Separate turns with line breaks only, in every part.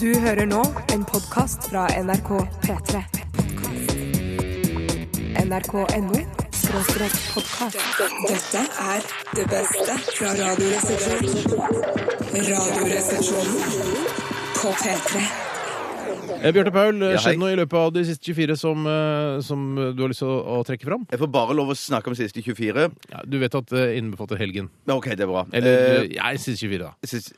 Du hører nå en podkast fra NRK P3. NRK.no skråstrek podkast. Dette er det beste fra Radioresepsjonen. Radioresepsjonen på P3.
Eh, Bjarte Paul,
Ja, hei.
skjedd noe i løpet av de siste 24 som, eh, som du har lyst til å, å trekke fram?
Jeg får bare lov å snakke om siste 24.
Ja, du vet at det innbefatter helgen.
Men OK, det er bra.
Eller eh,
Eh,
nei, siste 24, da.
siste-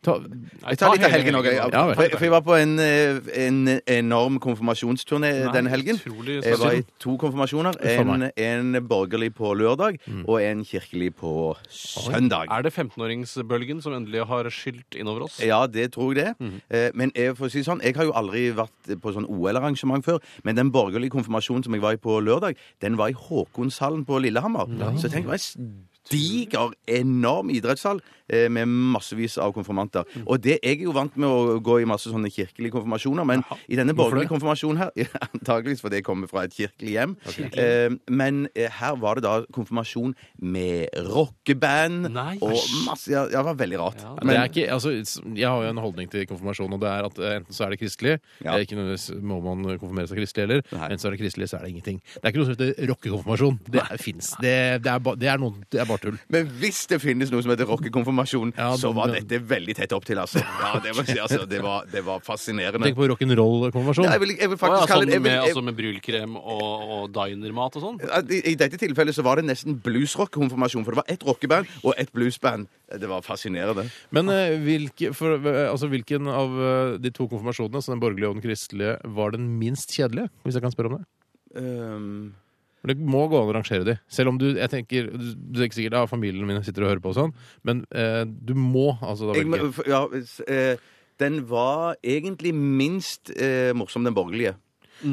Ta, nei,
Jeg tar litt av
hele
helgen òg. jeg.
Ja,
For,
vel.
for jeg var på en, eh, en enorm konfirmasjonsturné eh, denne helgen.
utrolig
Jeg var i
spesielt.
to konfirmasjoner.
Uff a
En, eh,
meg.
en borgerlig på lørdag
Mm.
og en kirkelig på søndag.
Er det 15-åringsbølgen som endelig har skylt innover oss?
Ja, det tror jeg det. Eh, Men jeg, for å si det sånn, jeg har jo aldri vært på sånn OL-arrangement før. Men den borgerlige konfirmasjonen som jeg var i på lørdag, den var i Håkonshallen på Lillehammer. Så tenk, det var en diger, enorm idrettshall eh, med massevis av konfirmanter. Og det jeg er jo vant med å gå i masse sånne kirkelige konfirmasjoner, men i denne borgerlige konfirmasjonen her Antakeligvis fordi jeg kommer fra et kirkelig hjem. Eh, Men eh, her var det da konfirmasjon med rockeband
Nei.
og masse Ja, det var veldig rart.
Ja,
det er ikke, altså, jeg har jo en holdning til konfirmasjon, og det er at eh, enten så er det kristelig,
Ja.
eh, ikke nødvendigvis må man konfirmere seg kristelig heller,
Nei.
men så er det kristelig, så er det ingenting. Det er ikke noe som heter rockekonfirmasjon. Det er- finnes. Det, det, er, ba- det, er noen, det er bare tull.
Men hvis det finnes noe som heter rockekonfirmasjon,
Ja,
så var
men-
dette veldig tett opptil, altså. Ja, det, var, altså, det, var, det var fascinerende.
Tenk på rock'n'roll-konfirmasjon.
Nei, jeg, vil, jeg vil
Å,
faktisk
ja,
kalle
sånn
det jeg
med,
vil, jeg,
altså med brylkrem og, og dinermat og sånn?
at i, I dette tilfellet så var det nesten bluesrock-konfirmasjon, for det var ett rockeband og ett bluesband. Det var fascinerende.
Men eh, hvilke, for, eh, altså, hvilken av eh, de to konfirmasjonene, så den borgerlige og den kristelige, var den minst kjedelige, hvis jeg kan spørre om det?
Ehm,
For Det må gå an å rangere de. Selv om du jeg tenker, du, du tenker sikkert at ja, familien min sitter og hører på og sånn, men eh, du må altså da
jeg,
velge.
må- ja, s- eh, den var egentlig minst eh, morsom, den borgerlige. Mm.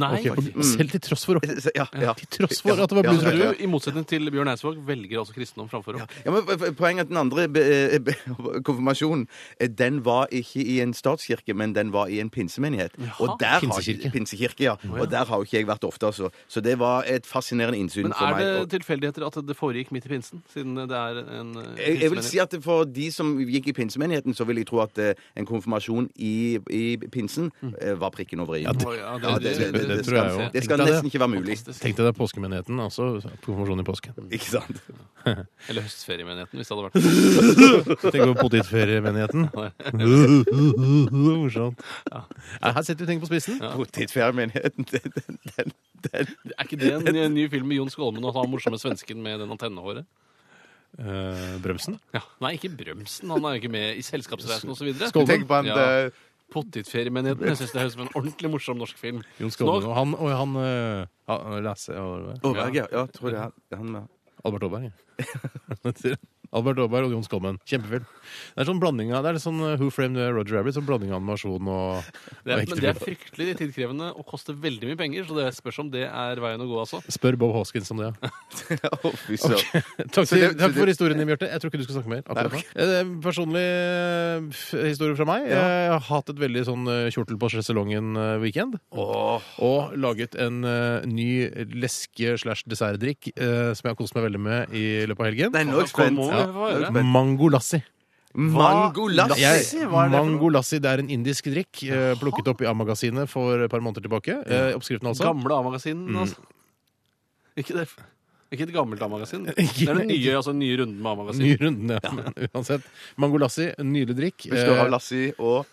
Nei.
Ok, for, selv til tross for rock.
Så- Ja, ja.
Til tross for at det var
Ja,
blues
Så
ja,
rock.
ja.
du, i motsetning til Bjørn Eidsvåg, velger altså kristendom framfor rock?
Ja, men f- f- Poenget er at den andre be- eh, be- konfirmasjonen eh, den var ikke i en statskirke, men den var i en pinsemenighet. Og der har-
Pinsekirke.
pinsekirke ja. Og der har jo ikke jeg vært ofte, altså. Så det var et fascinerende innsyn
Men
for
er
meg.
det
Og-
tilfeldigheter at det foregikk midt i pinsen? Siden det er en eh,
Jeg, jeg vil si
pinsemenighet?
at For de som gikk i pinsemenigheten, så vil jeg tro at eh, en konfirmasjon i, i pinsen eh, var prikken over i-en.
Å, ja,
Ja, det- det- det-
det
det
tror jeg
skal-
jo.
Det skal
Tenkte jeg
nesten ikke være mulig.
Fantastisk.
Tenk deg det er påskemenigheten, altså konfirmasjon i påsken.
Ikke sant?
Eller høstferiemenigheten, hvis det hadde vært
Tenk på potetferiemenigheten. Morsomt. Nei, Her setter vi ting på spissen.
Potetfjærmenigheten, den, den, den, den
Er ikke det en, ny- ny film med Jon Skolmen og han morsomme svensken med den antennehåret?
Eh, Brømsen.
Ja. Nei, ikke Brømsen. Han er jo ikke med i Selskapsreisen osv.
Skål.
Tenk på han
Ja.
eh,
Pottitferiemenigheten. Jeg syns det høres ut som en ordentlig morsom norsk film.
Jon Skåne og han, og han eh, han- Lasse og
Åberg, ja. ja. Tror jeg han, han
Albert Aaberg. ja. Albert Aaberg og Jon Skolmen. Kjempefilm. Det er sånn blanding av, det er litt sånn eh, Who Framed Roger Rabbit, sånn blanding av animasjon og, og
Det er,
ekte
men det er
film.
fryktelig tidkrevende og koster veldig mye penger, så det spørs om det er veien å gå, altså.
Spør Bob Hoskins om det. ja.
Å, fy søren.
Takk,
Så
til,
det- så
takk for
det-
historien din, Bjarte. Jeg tror ikke du skal snakke mer. akkurat
Nei,
nå. Eh, Personlig eh, f- historie fra meg. eh, Jeg har hatt et veldig sånn eh, kjortel på eh, sjeselongen-weekend. Og laget en eh, ny leske-slash-dessertdrikk eh, som jeg har kost meg veldig med i løpet av helgen.
Nei, nå er jeg
Kom
spent.
over,
Ja.
hva er det?
Mangolassi.
Mango lassi!
Jeg, mango lassi det er en indisk drikk eh, plukket opp i A-magasinet for et par måneder tilbake. Eh, oppskriften, altså.
Gamle A-magasin, altså. Ikke det. Ikke et gammelt A-magasin. Det er den nye, altså, den nye runden med A-magasin.
Ny runde, ja. Men uansett. Mangolassi, en nydelig drikk.
Består
Eh,
av lassi og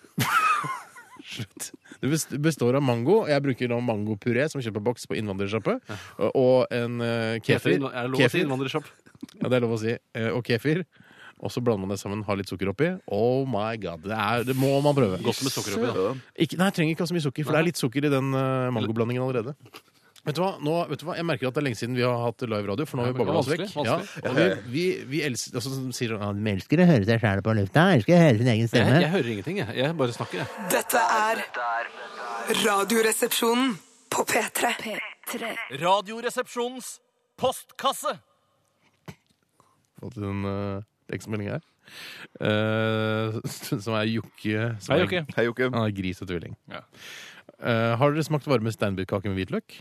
Det best- består av mango. og Jeg bruker nå mangopuré som kjøper boks på innvandrersjappe. og- Og en eh,
Kefir.
kefir.
Er det lov å si
Kefir.
innvandrersjapp?
Ja, det er lov å si. Eh, Og kefir. Og så blander man det sammen, har litt sukker oppi. Oh my god, Det, er, det må man prøve.
Godt med sukker oppi, da.
Ikke, nei, jeg trenger ikke ha så mye sukker, for det er litt sukker i den eh, mangoblandingen allerede. Vet du, hva? Nå, vet du hva? Jeg merker at det er lenge siden vi har hatt live radio, for nå har vi
Ja,
babla oss
vanskelig,
vekk. Ja, og vi, vi, vi elsker, altså, som sier, ja, de elsker å høre seg sjæl på lufta, elsker å høre sin egen
Jeg, jeg hører ingenting, jeg. Jeg bare snakker, jeg.
Dette er Radioresepsjonen på P3.
Radioresepsjonens postkasse.
Fått en eh, tekstmelding her. Eh, som er Jokke. som
Hei,
er-
Jokke.
Hei, Joakim.
Han er gris og tvilling.
Ja.
Eh, har dere smakt varme steinbitkake med hvitløk?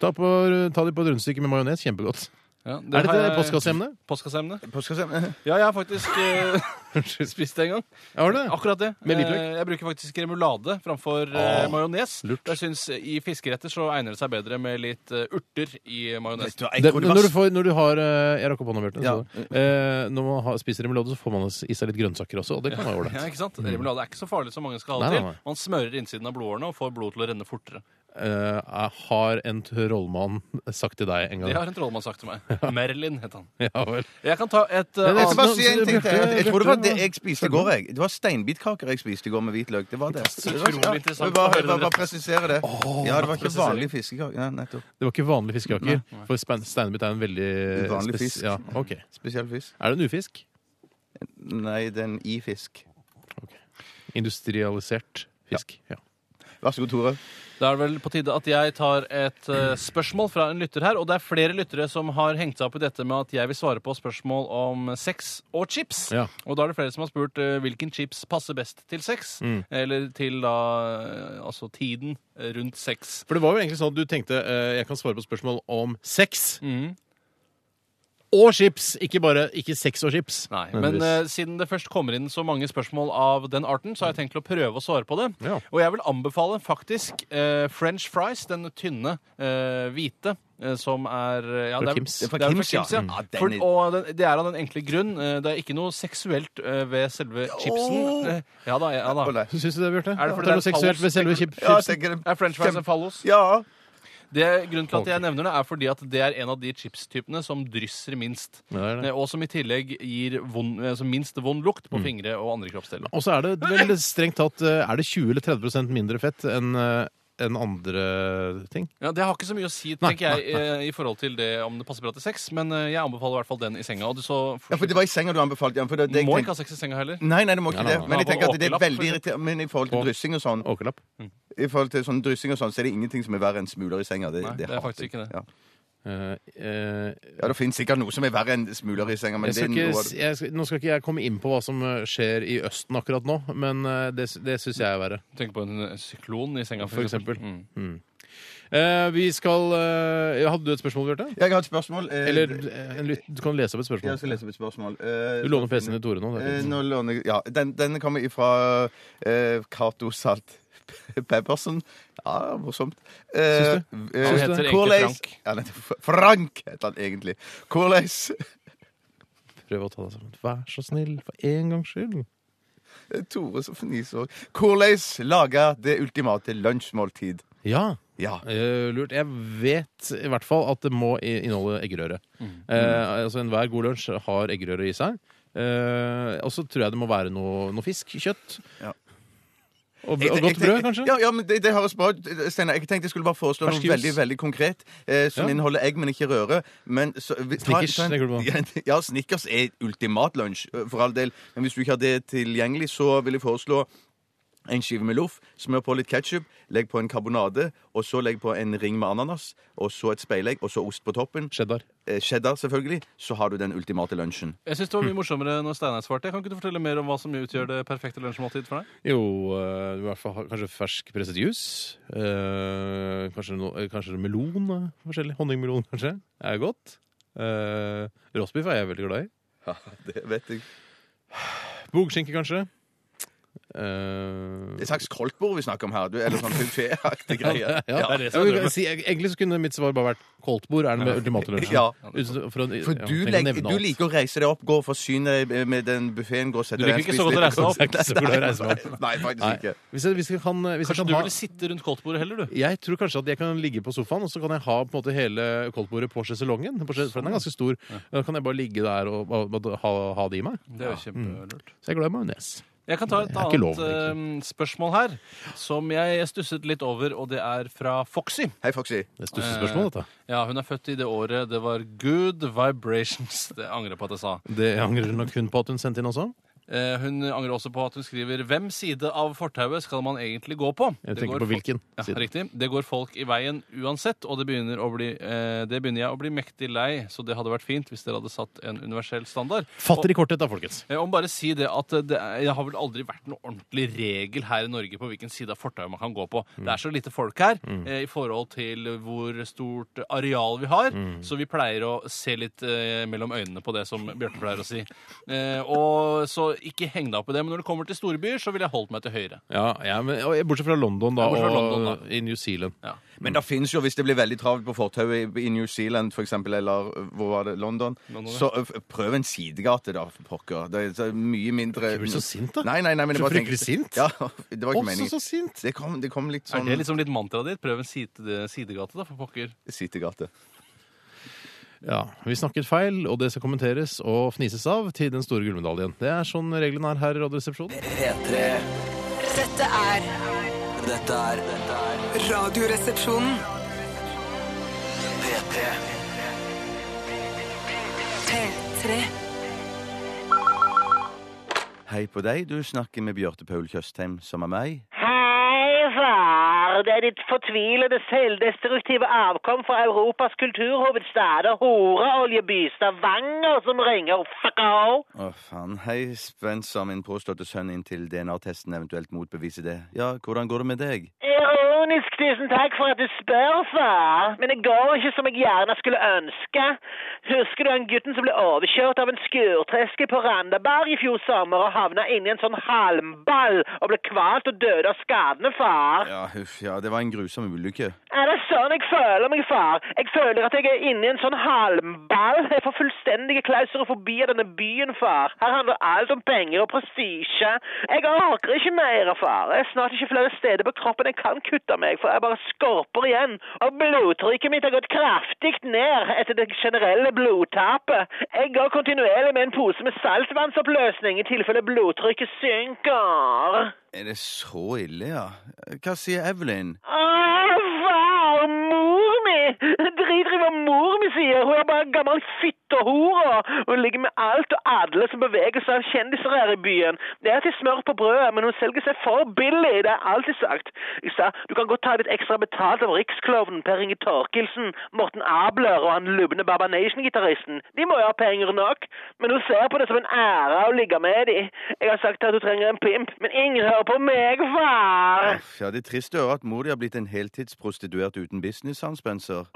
Ta, på, ta de på et rundstykke med majones. Kjempegodt.
Ja,
er dette
har jeg-
postkasseemnet?
Postkasseemnet?
Påskesemne.
Ja, jeg har faktisk eh, spist det en gang.
Har du det?
Akkurat det.
Med hvitløk?
Eh, Jeg bruker faktisk remulade framfor eh, majones. Jeg syns i fiskeretter så egner det seg bedre med litt eh, urter i majones.
Det, når, du får, når du har eh, Jeg rakk opp hånda, Bjarte.
Ja.
så det. Eh, når man har, spiser remulade, så får man i seg litt grønnsaker også, og det kan være
Ja,
ålreit.
ikke sant? Remulade er ikke så farlig som mange skal ha
Nei,
det
nei,
til.
nei.
Man smører innsiden av blodårene og får blodet til å renne fortere.
Eh, jeg har en trollmann sagt til deg en gang?
Det har en trollmann sagt til meg. Merlin het han.
Ja vel.
Jeg kan ta et eh,
Men det er
Jeg
annet
skal bare si en ting til. Jeg, jeg tror det var det jeg spiste i
Følger
går. jeg. Det var steinbitkaker jeg spiste i går med hvitløk. Det var det. det var,
Utrolig interessant
Jeg Bare,
å høre
jeg bare,
det.
bare presisere det. Ja, det var ikke vanlig fiskekake. Ja, nettopp.
Det var ikke vanlige fiskeaker. For span- steinbit er en veldig
Uvanlig
spes-
fisk.
Ja, ok.
Spesiell fisk.
Er det en ufisk?
Nei, det er en i-fisk.
Industrialisert fisk. Ja.
Vær så god, Tore.
Da er det vel på tide at jeg tar et eh, spørsmål fra en lytter her. Og det er flere lyttere som har hengt seg opp i dette med at jeg vil svare på spørsmål om sex og chips.
Ja.
Og da er det flere som har spurt eh, hvilken chips passer best til sex.
Mm.
Eller til da eh, altså tiden rundt sex.
For det var jo egentlig sånn at du tenkte eh, jeg kan svare på spørsmål om sex.
Mm.
Og chips! Ikke bare ikke sex og chips.
Nei, Men eh, siden det først kommer inn så mange spørsmål av den arten, så har jeg tenkt til å prøve å svare på det.
Ja.
Og jeg vil anbefale faktisk eh, french fries, den tynne, eh, hvite. eh, Som er eh, ja,
Fra
det er-
Kims.
Det er fra Kims, ja.
Mm. Ja, den
For,
er-
og den, det er av den enkle grunn. eh, Det er ikke noe seksuelt eh, ved selve chipsen. Eh, Ja da, ja da.
Å, nei.
Syns du det, Bjarte?
Er det
det
fordi det er
noe seksuelt ved
fallos-
selve chip-
Ja, jeg
chipsen?
tenker det.
Er french fries en fallos?
Ja.
Det, grunnen til at jeg nevner det, er fordi at det er en av de chipstypene som drysser minst.
Ja, det er det.
Eh, Og som i tillegg gir vond, eh, som minst vond lukt på fingre og andre kroppsdeler.
Og så er det vel strengt tatt eh, Er det 20 eller 30 mindre fett enn eh, enn andre ting?
Ja, Det har ikke så mye å si
Nei,
tenker jeg, eh, i forhold til det om det passer bra til sex, men eh, jeg anbefaler i hvert fall den i senga. Og du så
ja, for det var i senga du anbefalte. Ja, for det, det, jeg
Må
tenker-
ikke ha sex i senga heller.
Nei, nei, det må ikke
Nei, nei,
det. Men jeg
nei.
tenker at det er
Åkerlapp,
veldig
for
irriterende. Men i forhold til
Å.
dryssing og sånn,
Åkerlapp?
Mm.
I forhold til sånn dryssing og sånn, så er det ingenting som er verre enn smuler i senga. Det,
Nei, det er
hater
faktisk
jeg.
ikke det.
Ja.
Eh, eh,
Ja, Det finnes sikkert noe som er verre enn smuler i senga, men
jeg skal
det er
ikke,
noe av
s- jeg skal, nå skal ikke jeg komme inn på hva som eh, skjer i Østen akkurat nå, men eh, det, s- det syns jeg er verre.
Tenk på en eh, syklon i senga, Mm.
For eksempel. Mm. Eh, vi skal eh, Hadde du et spørsmål, Bjarte?
Jeg har et spørsmål. eh,
Eller eh, en lytt- du kan lese opp et
Jeg
spørsmål.
skal lese opp et spørsmål. Eh,
Du låner PC-en til Tore nå. det er fint.
nå låner jeg, ja, den, Denne kommer ifra eh, Cato Salt Peppersen. Ja, morsomt. Eh,
Syns
du?
Han heter egentlig Frank.
Ja, den heter F- Frank heter han egentlig. Hvordan
Prøv å ta deg sammen. Vær så snill, for en gangs skyld.
Eh, Tore som fniser òg. Hvordan lage det ultimate lunsjmåltid?
Ja,
Ja.
eh, lurt. Jeg vet i hvert fall at det må i- inneholde eggerøre.
Mm.
Eh, altså Enhver god lunsj har eggerøre i seg. Eh, og så tror jeg det må være noe, noe fisk. Kjøtt.
Ja.
Og,
Jeg-
og
jeg-
godt
jeg-
brød, kanskje?
Ja, ja men det, det høres bra ut. Steinar, jeg tenkte jeg skulle bare foreslå noe
Fersk juice.
veldig veldig konkret eh, som
Ja.
inneholder egg, men ikke røre. Men, så, vi- ta-
Snickers,
ta en-
tenker du
Ja, Snickers er ultimat lunsj, eh, for all del. Men hvis du ikke har det tilgjengelig, så vil jeg foreslå en skive med loff, smør på litt ketsjup, legg på en karbonade, og så legg på en ring med ananas, og så et speilegg, og så ost på toppen.
Cheddar.
Eh, Cheddar, selvfølgelig. Så har du den ultimate lunsjen.
Jeg syns det var mye morsommere når Steinar svarte. Kan ikke du fortelle mer om hva som utgjør det perfekte lunsjmåltid for deg?
Jo, eh, i hvert fall ha- kanskje fersk presset juice. Eh, kanskje, no, eh, kanskje melon. eh, Forskjellig. Honningmelon, kanskje. Er godt. Eh, Roastbiff er jeg veldig glad i.
Ja, det vet jeg.
Bogskinke, kanskje. Eh,
Det er et slags koltbord vi snakker om her, du. Eller sånn bufféaktig greie.
Ja,
det er det som
Ja,
er
men
drømmen.
si, egentlig så kunne mitt svar bare vært koldtbord er den ultimate lunsjen.
Ja.
Uten- For, å-
For
ja,
du,
tenk å
legg-
nevne
du
alt.
liker å reise deg opp, gå og forsyne deg med den buffeen
Du liker ikke så godt å reise deg opp.
Jeg er ikke så glad i å reise meg opp.
Nei, faktisk
Nei.
ikke.
Hvis jeg, hvis jeg kan, hvis jeg
Kanskje
kan
du
ha
ville sitte rundt koldtbordet heller, du?
jeg tror kanskje at jeg kan ligge på sofaen, og så kan jeg ha på en måte hele koldtbordet på sjeselongen. På sjes- For den er ganske stor. Da kan jeg bare ligge der og, og, og ha, ha det i meg.
Det er jo kjempelurt.
Så jeg er glad i majones.
Jeg kan ta et
Det er ikke
annet
lov, egentlig.
eh, spørsmål her, som jeg stusset litt over, og det er fra Foxy. Eh,
Hei, Foxy.
Det er et stussespørsmål, dette.
Ja, Hun er født i det året det var good vibrations. Det angrer jeg på at jeg sa.
Det angrer hun nok hun på at hun sendte inn også.
Eh, Hun angrer også på at hun skriver Hvem side av fortauet skal man egentlig gå på?
Jeg
Det
tenker
går
på hvilken
Ja,
side.
riktig. Det går folk i veien uansett, og det begynner, å bli, eh, det begynner jeg å bli mektig lei, så det hadde vært fint hvis dere hadde satt en universell standard.
Fatter i korthet, da, folkens.
Jeg må Eh, bare si det at eh, det, er- det har vel aldri vært noen ordentlig regel her i Norge på hvilken side av fortauet man kan gå på. Det er så lite folk her eh, i forhold til hvor stort areal vi har, så vi pleier å se litt eh, mellom øynene på det, som Bjarte pleier å si. Eh, og så ikke heng deg opp i det. Men når det kommer til storbyer, så ville jeg holdt meg til høyre.
Ja, ja, men, og, bortsett fra London, da,
Ja, bortsett fra
og
London, da.
i New Zealand.
Ja.
Men det fins jo, hvis det blir veldig travelt på fortauet i i New Zealand for eksempel, eller øh, hvor var det, London,
London, ja.
så øh, f- prøv en sidegate, da, for pokker. Det er så mye mindre
Du blir så sint, da.
Nei, nei, nei, men jeg
Så
bare tenker-
fryktelig sint.
Ja, det var ikke
Også
meningen.
så sint!
Det kom, det kom litt
Er
sånn
det liksom litt mantraet ditt? Prøv en side, sidegate, da, for pokker.
sidegate.
Ja, Vi snakket feil, og det skal kommenteres og fnises av til den store gullmedaljen. Det er sånn reglene er her i Radioresepsjonen.
P3
Dette er
Dette er dette er
Radioresepsjonen.
P3
P3.
Hei på deg, du snakker med Bjarte Paul Tjøstheim, som er meg.
Hei, far. Det er ditt fortvilede, selvdestruktive avkom fra Europas kulturhovedstader, Horeoljeby, Stavanger, som ringer. Fuck all.
Å, faen. Hei, Spencer, min påståtte sønn, inntil DNA-testen eventuelt motbeviser det. Ja, hvordan går det med deg?
Ironisk, tusen takk for at du spør, far. Men det går ikke som jeg gjerne skulle ønske. Husker du han gutten som ble overkjørt av en skurtreske på Randaberg i fjor sommer og havna inni en sånn halmball og ble kvalt og døde av skadene, far?
Ja, huff, ja, det var en grusom ulykke.
Er det sånn jeg føler meg, far? Jeg føler at jeg er inne i en sånn halmball. Jeg får fullstendige klauserofobi av denne byen, far. Her handler alt om penger og prestisje. Jeg orker ikke mer, far. Jeg er snart ikke flere steder på kroppen jeg kan kutte meg, for jeg bare skorper igjen. Og blodtrykket mitt har gått kraftig ned etter det generelle blodtapet. Jeg går kontinuerlig med en pose med saltvannsoppløsning i tilfelle blodtrykket synker.
Er det så ille, ja? Hva sier Evelyn?
Åh, far, Ah, mor mi! Driter i hva mor mi sier. Hun er bare en gammel fittehore. Hun ligger med alt og alle som beveger seg av kjendiser her i byen. Det er til smør på brødet, men hun selger seg for billig. Det er alltid sagt. Jeg sa du kan godt ta litt ekstra betalt av riksklovnen Per Inge Torkelsen, Morten Abler og han lubne Baba Nation-gitaristen. De må jo ha penger nok. Men hun ser på det som en ære å ligge med de. Jeg har sagt at hun trenger en pimp, men ingen hører på meg, far.
Uff, ja, det er trist å høre at mor di har blitt en heltidsprostituert uten business, han, Spencer.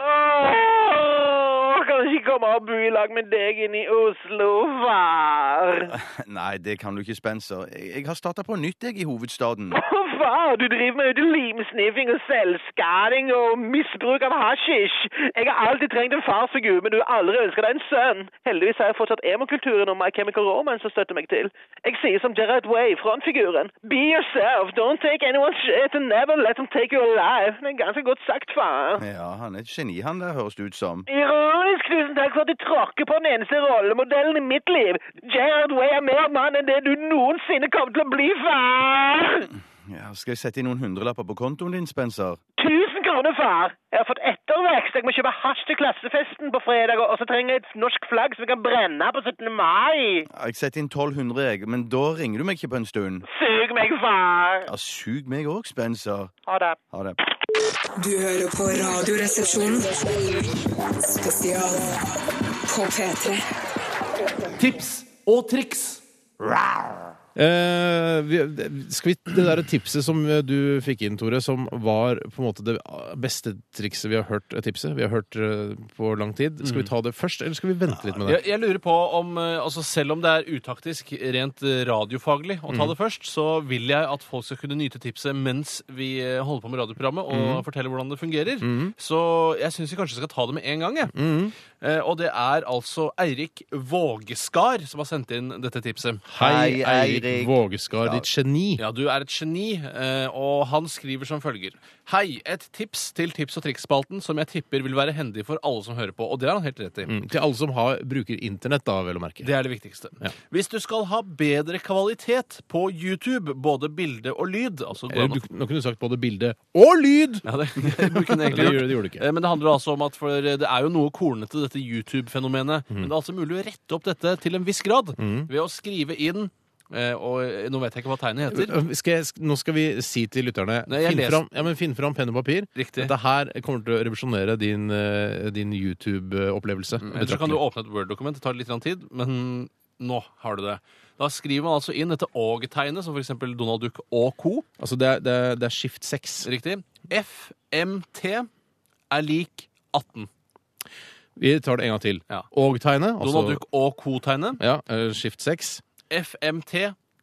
Åh, kan du ikke komme og bo i lag med deg inn i Oslo, far?
Nei, det kan du ikke, Spencer. Jeg, jeg har starta på nytt, jeg, i hovedstaden.
Å, far, du driver med limsniffing og selvskading og misbruk av hasjisj. Jeg har alltid trengt en farsfigur, men du har aldri ønsket deg en sønn. Heldigvis har jeg fortsatt emokulturen og My Chemical Romance å støtte meg til. Jeg sier som Gerard Way, frontfiguren. Be yourself, don't take anyone's shit, and never let them take you alive. Det er ganske godt sagt, far.
Ja, han er et geni, han der, høres det ut som.
Ironisk, tusen takk for at du tråkker på den eneste rollemodellen i mitt liv. Gerard Way er mer mann enn det du noensinne kommer til å bli, far!
Ja, skal jeg sette inn noen hundrelapper på kontoen din, Spencer?
Tusen kroner, far! Jeg har fått ettervekst. Jeg må kjøpe hasj til klassefesten på fredag, og så trenger jeg et norsk flagg som jeg kan brenne på 17. mai.
Ja, Jeg setter inn 1200, jeg, men da ringer du meg ikke på en stund.
Sug meg, far!
Ja, sug meg òg, Spencer.
Ha det.
Ha det.
Du hører på Radioresepsjonen. Spesial på P3.
Eh, vi, skal vi, det der tipset som eh, du fikk inn, Tore, som var på en måte det ah, beste trikset vi har hørt tipset, vi har hørt eh, på lang tid, skal
Mm.
vi ta det først, eller skal vi vente litt med det?
Jeg, jeg lurer på om eh, altså Selv om det er utaktisk rent eh, radiofaglig å
Mm.
ta det først, så vil jeg at folk skal kunne nyte tipset mens vi eh, holder på med radioprogrammet og
Mm.
forteller hvordan det fungerer. Så jeg syns vi kanskje skal ta det med en gang. Jeg.
Mm.
Eh, og det er altså Eirik Vågeskar som har sendt inn dette tipset.
Hei,
Hei,
Eirik
Eirik.
Vågeskar, ditt geni.
Ja, du er et geni, eh, og han skriver som følger. Hei, et tips til tips og triks-spalten som jeg tipper vil være hendig for alle som hører på. Og det har han helt rett i.
Mm, til alle som har, bruker internett, da, vel å merke.
Det er det viktigste.
Ja.
Hvis du skal ha bedre kvalitet på YouTube, både bilde og lyd altså går
Eller
an å-
Eh, du, nå kunne du sagt både bilde og lyd!
ja, det, det kunne jeg
Det
egentlig
gjorde-
gjort.
det gjorde du ikke.
Eh, Men det handler altså om at for det er jo noe kornete, dette
Mm.
YouTube-fenomenet. Men det er altså mulig å rette opp dette til en viss grad ved å skrive inn eh, Og nå vet jeg ikke hva tegnet heter.
Eh, Skal jeg, sk- nå skal vi si til lytterne
Nei, jeg
finn,
leser-
fram, ja, men finn fram penn og papir.
Riktig.
Dette her kommer til å revolusjonere din, eh, din YouTube-opplevelse.
Mm, Ellers så kan du åpne et Word-dokument. Det tar litt grann tid, men nå har du det. Da skriver man altså inn dette og-tegnet, som for eksempel Donald Duck og co.
altså, det, er, det, er, det er skift 6.
Riktig. FMT er lik 18.
Vi tar det en gang til. altså-
Ja.
Og-tegnet.
Donald Duck og co-tegnet.
Ja, eh, skift 6.
FMT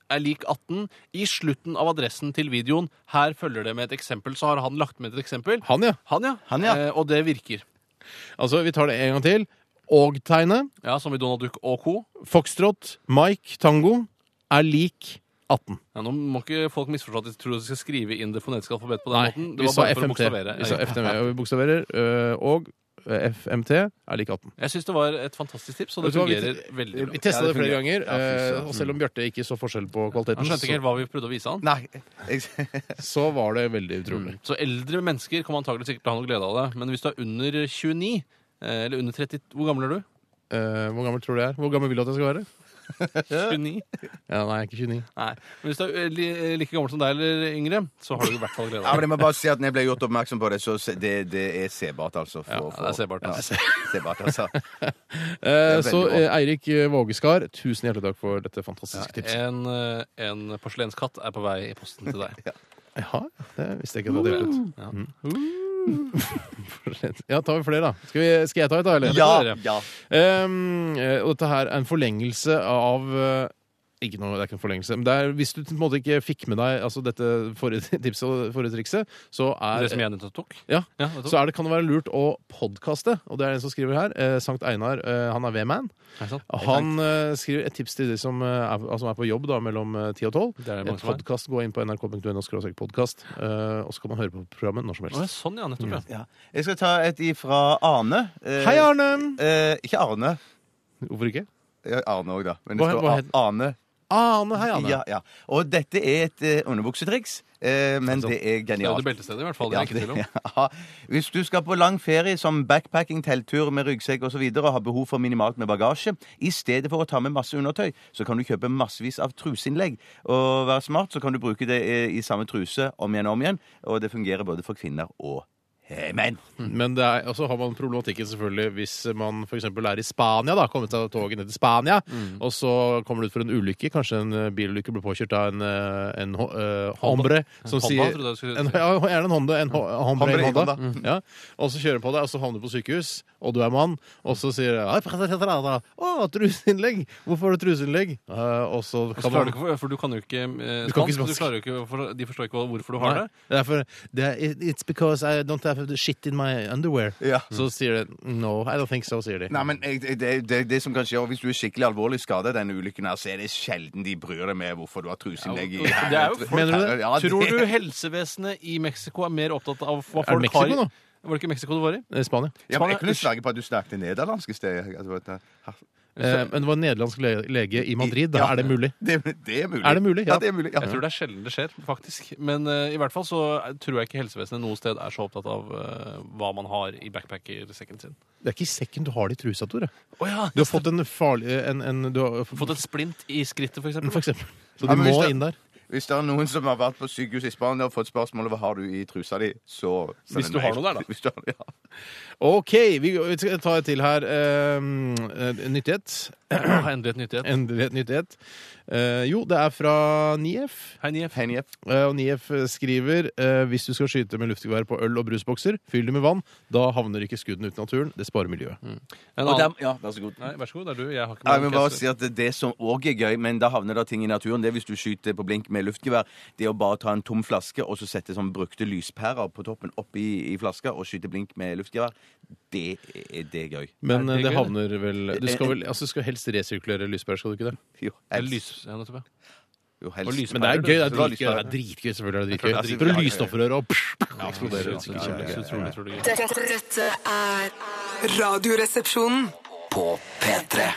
er lik 18 i slutten av adressen til videoen. Her følger det med et eksempel. Så har han lagt med et eksempel.
Han, ja.
Han, ja.
Han, ja.
Eh, og det virker.
Altså, vi tar det en gang til. Og-tegnet,
Ja, Som i Donald Duck og co.
foxtrot, Mike, tango er lik 18.
Ja, nå må ikke folk misforstå at de tror de skal skrive inn det fonetiske alfabet på den
Nei,
måten. Det
vi
var
sa
bare for å
FMT.
bokstavere.
Vi sa FMT, og vi bokstaverer. øh, Og øh, FMT er lik 18.
Jeg syns det var et fantastisk tips, og
Vet
det
du hva, vi-
fungerer veldig
Vi
bra.
testa
Ja,
det
det
flere
fungerer.
ganger,
Ja, fy søren.
øh, og selv om Bjarte ikke så forskjell på
Han
kvaliteten,
skjønte
så,
ikke helt hva vi prøvde å vise han. Mm.
Nei. Jeg,
så var det veldig utrolig.
Så eldre mennesker kommer antagelig sikkert til å ha noe glede av det. Men hvis du er under 29, eh, eller under 30 Hvor gammel er du?
Eh, hvor gammel tror du jeg er? Hvor gammel vil du at jeg skal være?
29?
Ja, nei, jeg er ikke 29.
Nei. Men hvis du er li, like gammel som deg eller yngre, så har du i hvert fall glede
ja,
av det.
men jeg må bare si at når jeg ble gjort oppmerksom på det, så se- det, det er sebart, altså. For,
Ja,
for-
det er sebart,
Ja,
altså.
sebart, altså.
Eh,
Det er veldig
så
bra.
eh, Eirik eh, Vågeskar, tusen hjertelig takk for dette fantastiske tipset.
En, eh, en porselenskatt er på vei i posten til deg.
Ja, det visste jeg ikke at det hadde hjulpet.
Ja.
Ja, tar vi flere, da. Skal, vi, skal jeg ta et, da? Eller?
Ja,
ja.
Ehm, eh, og dette her er en forlengelse av eh, ikke noe, det er ikke en forlengelse, men det er, Hvis du på en måte ikke fikk med deg altså dette forrige tipset og forrige trikset, så er,
Det som jeg nettopp tok?
ja,
Ja, vet du.
så er det, kan det være lurt å podkaste. Og det er en som skriver her. Eh, Sankt Einar, eh, han er V-man.
Er det sant?
Han eh, skriver et tips til de som, eh, er, altså, er på jobb da, mellom eh, 10 og 12.
Det er det mange
En
som er.
podkast. Gå inn på nrk.no podkast, eh, og så kan man høre på programmet når som
Å, ja,
helst.
sånn, ja. Nettopp, ja.
ja. Jeg skal ta et ifra Arne. Eh,
Hei, Arne!
Eh, ikke Arne.
Hvorfor ikke?
Ja, Arne òg, da. Men det
Hva-
står
hva
Ar-
het-
Arne.
Ane, hei, Ane.
Ja, ja. Og dette er et eh, underbuksetriks, eh, men
Det
det er
er sånn. det
genialt.
beltestedet, i hvert fall. Det
Ja,
er ikke tvil om.
det- ja. Hvis du skal på lang ferie som backpacking, telttur med ryggsekk osv. Og, så og har behov for minimalt med bagasje, i stedet for å ta med masse undertøy, så kan du kjøpe massevis av truseinnlegg. Og vær smart, så kan du bruke det eh, i samme truse om igjen og om igjen. Og det fungerer både for kvinner og eh, menn.
Mm, Men det er, og så har man problematikken selvfølgelig hvis man for eksempel er i Spania, da, kommet av toget ned til Spania,
Mm.
og så kommer du ut for en ulykke, kanskje en eh, bilulykke blir påkjørt av en, eh, en ho- eh, hombre som
Honda,
sier
trodde jeg du skulle si.
en, ja, Gjerne en Honda. En ho- hombre,
Hombre,
i Honda. Mm.
Honda.
Ja. Og så kjører du på deg, og så havner du på sykehus, og du er mann, og så sier de, Å, truseinnlegg! Hvorfor har du truseinnlegg? Eh, Og så
Og så
kan man
klarer du ikke, for- for du kan jo ikke eh,
Du kan ikke
spansk. Du
spansk.
klarer jo ikke, for, de forstår ikke hva- hvorfor du har
Nei,
det.
det er for, det er, it- It's because I don't have the shit in my underwear.
Ja.
Så
Eh,
sier de No, I don't think so, sier de.
Nei, men jeg, det, det, det, det som kan skje, og Hvis du er skikkelig alvorlig skadet i denne ulykken, her, så er det sjelden de bryr deg med hvorfor du har truseinnlegg i
Det er jo folk-
Mener du det?
Ja, det-
Tror du helsevesenet i Mexico er mer opptatt av hva
Er det
folk
Mexico
har i
nå?
Var det ikke Mexico du var i?
Eh, Spania.
Ja, men jeg kunne snakket på at du snakket nederlandsk i sted. Jeg vet ikke.
Eh, men det var en nederlandsk le- lege i Madrid. Da
Ja.
er det mulig?
Det, det er mulig.
Er det mulig?
Ja,
Ja.
det er mulig. Ja.
Jeg tror det er sjelden det skjer, faktisk. Men eh, i hvert fall så er- tror jeg ikke helsevesenet noe sted er så opptatt av eh, hva man har i backpackersekken sin.
Det er ikke i sekken du har det i trusa, Tore.
Å ja!
Du har fått en farlig en, en, du har, Mm,
Fått et splint i skrittet, for
For
eksempel.
eksempel. Så du
Ja, men hvis
må
det-
inn der.
Hvis det er noen som har vært på sykehus i Spania og fått spørsmål om hva har du i trusa di, så så
Hvis
er det
du har
meg.
noe der, da.
Hvis du har, ja.
OK, vi, vi skal ta et til her. Eh, nyttighet.
Jeg har Ah, endelig et nyttighet.
Endelig et nyttighet. Eh, jo, det er fra 9F.
Hei, Nief.
Henny F.
Eh, og 9F skriver eh, hvis du skal skyte med luftgevær på øl og brusbokser, fyll det med vann. Da havner ikke skuddene ut i naturen. Det sparer miljøet.
Mm. En annen.
Og der- Ja, vær så god.
Nei, vær så god. Det er du. Jeg har ikke
Jeg vil
noe
bare si at det- Det som òg er gøy, men da havner det ting i naturen, det er hvis du skyter på blink med luftgevær, det er å bare ta en tom flaske og så sette sånn brukte lyspærer på toppen opp i, i flaska og skyte blink med luftgevær. Det er, det er gøy.
Men
Er
eh,
det
det
gøy,
havner vel Du skal
Eh, eh.
vel altså, du skal helst resirkulere lyspærer, skal du ikke det?
Jo,
Eller
helst.
lys. Ja, nettopp, ja.
Jo, helst.
Og lyspærer,
Men det er gøy. Det er
Så du har
dritgøy. Det er
lyspærer.
dritgøy selvfølgelig er det
Jeg
dritgøy.
tror det
For
er
å
sikkert-
lyse opp for øret og eksploderer.
Det er så utrolig, utrolig gøy.
Dette, dette er
Radioresepsjonen.
På P3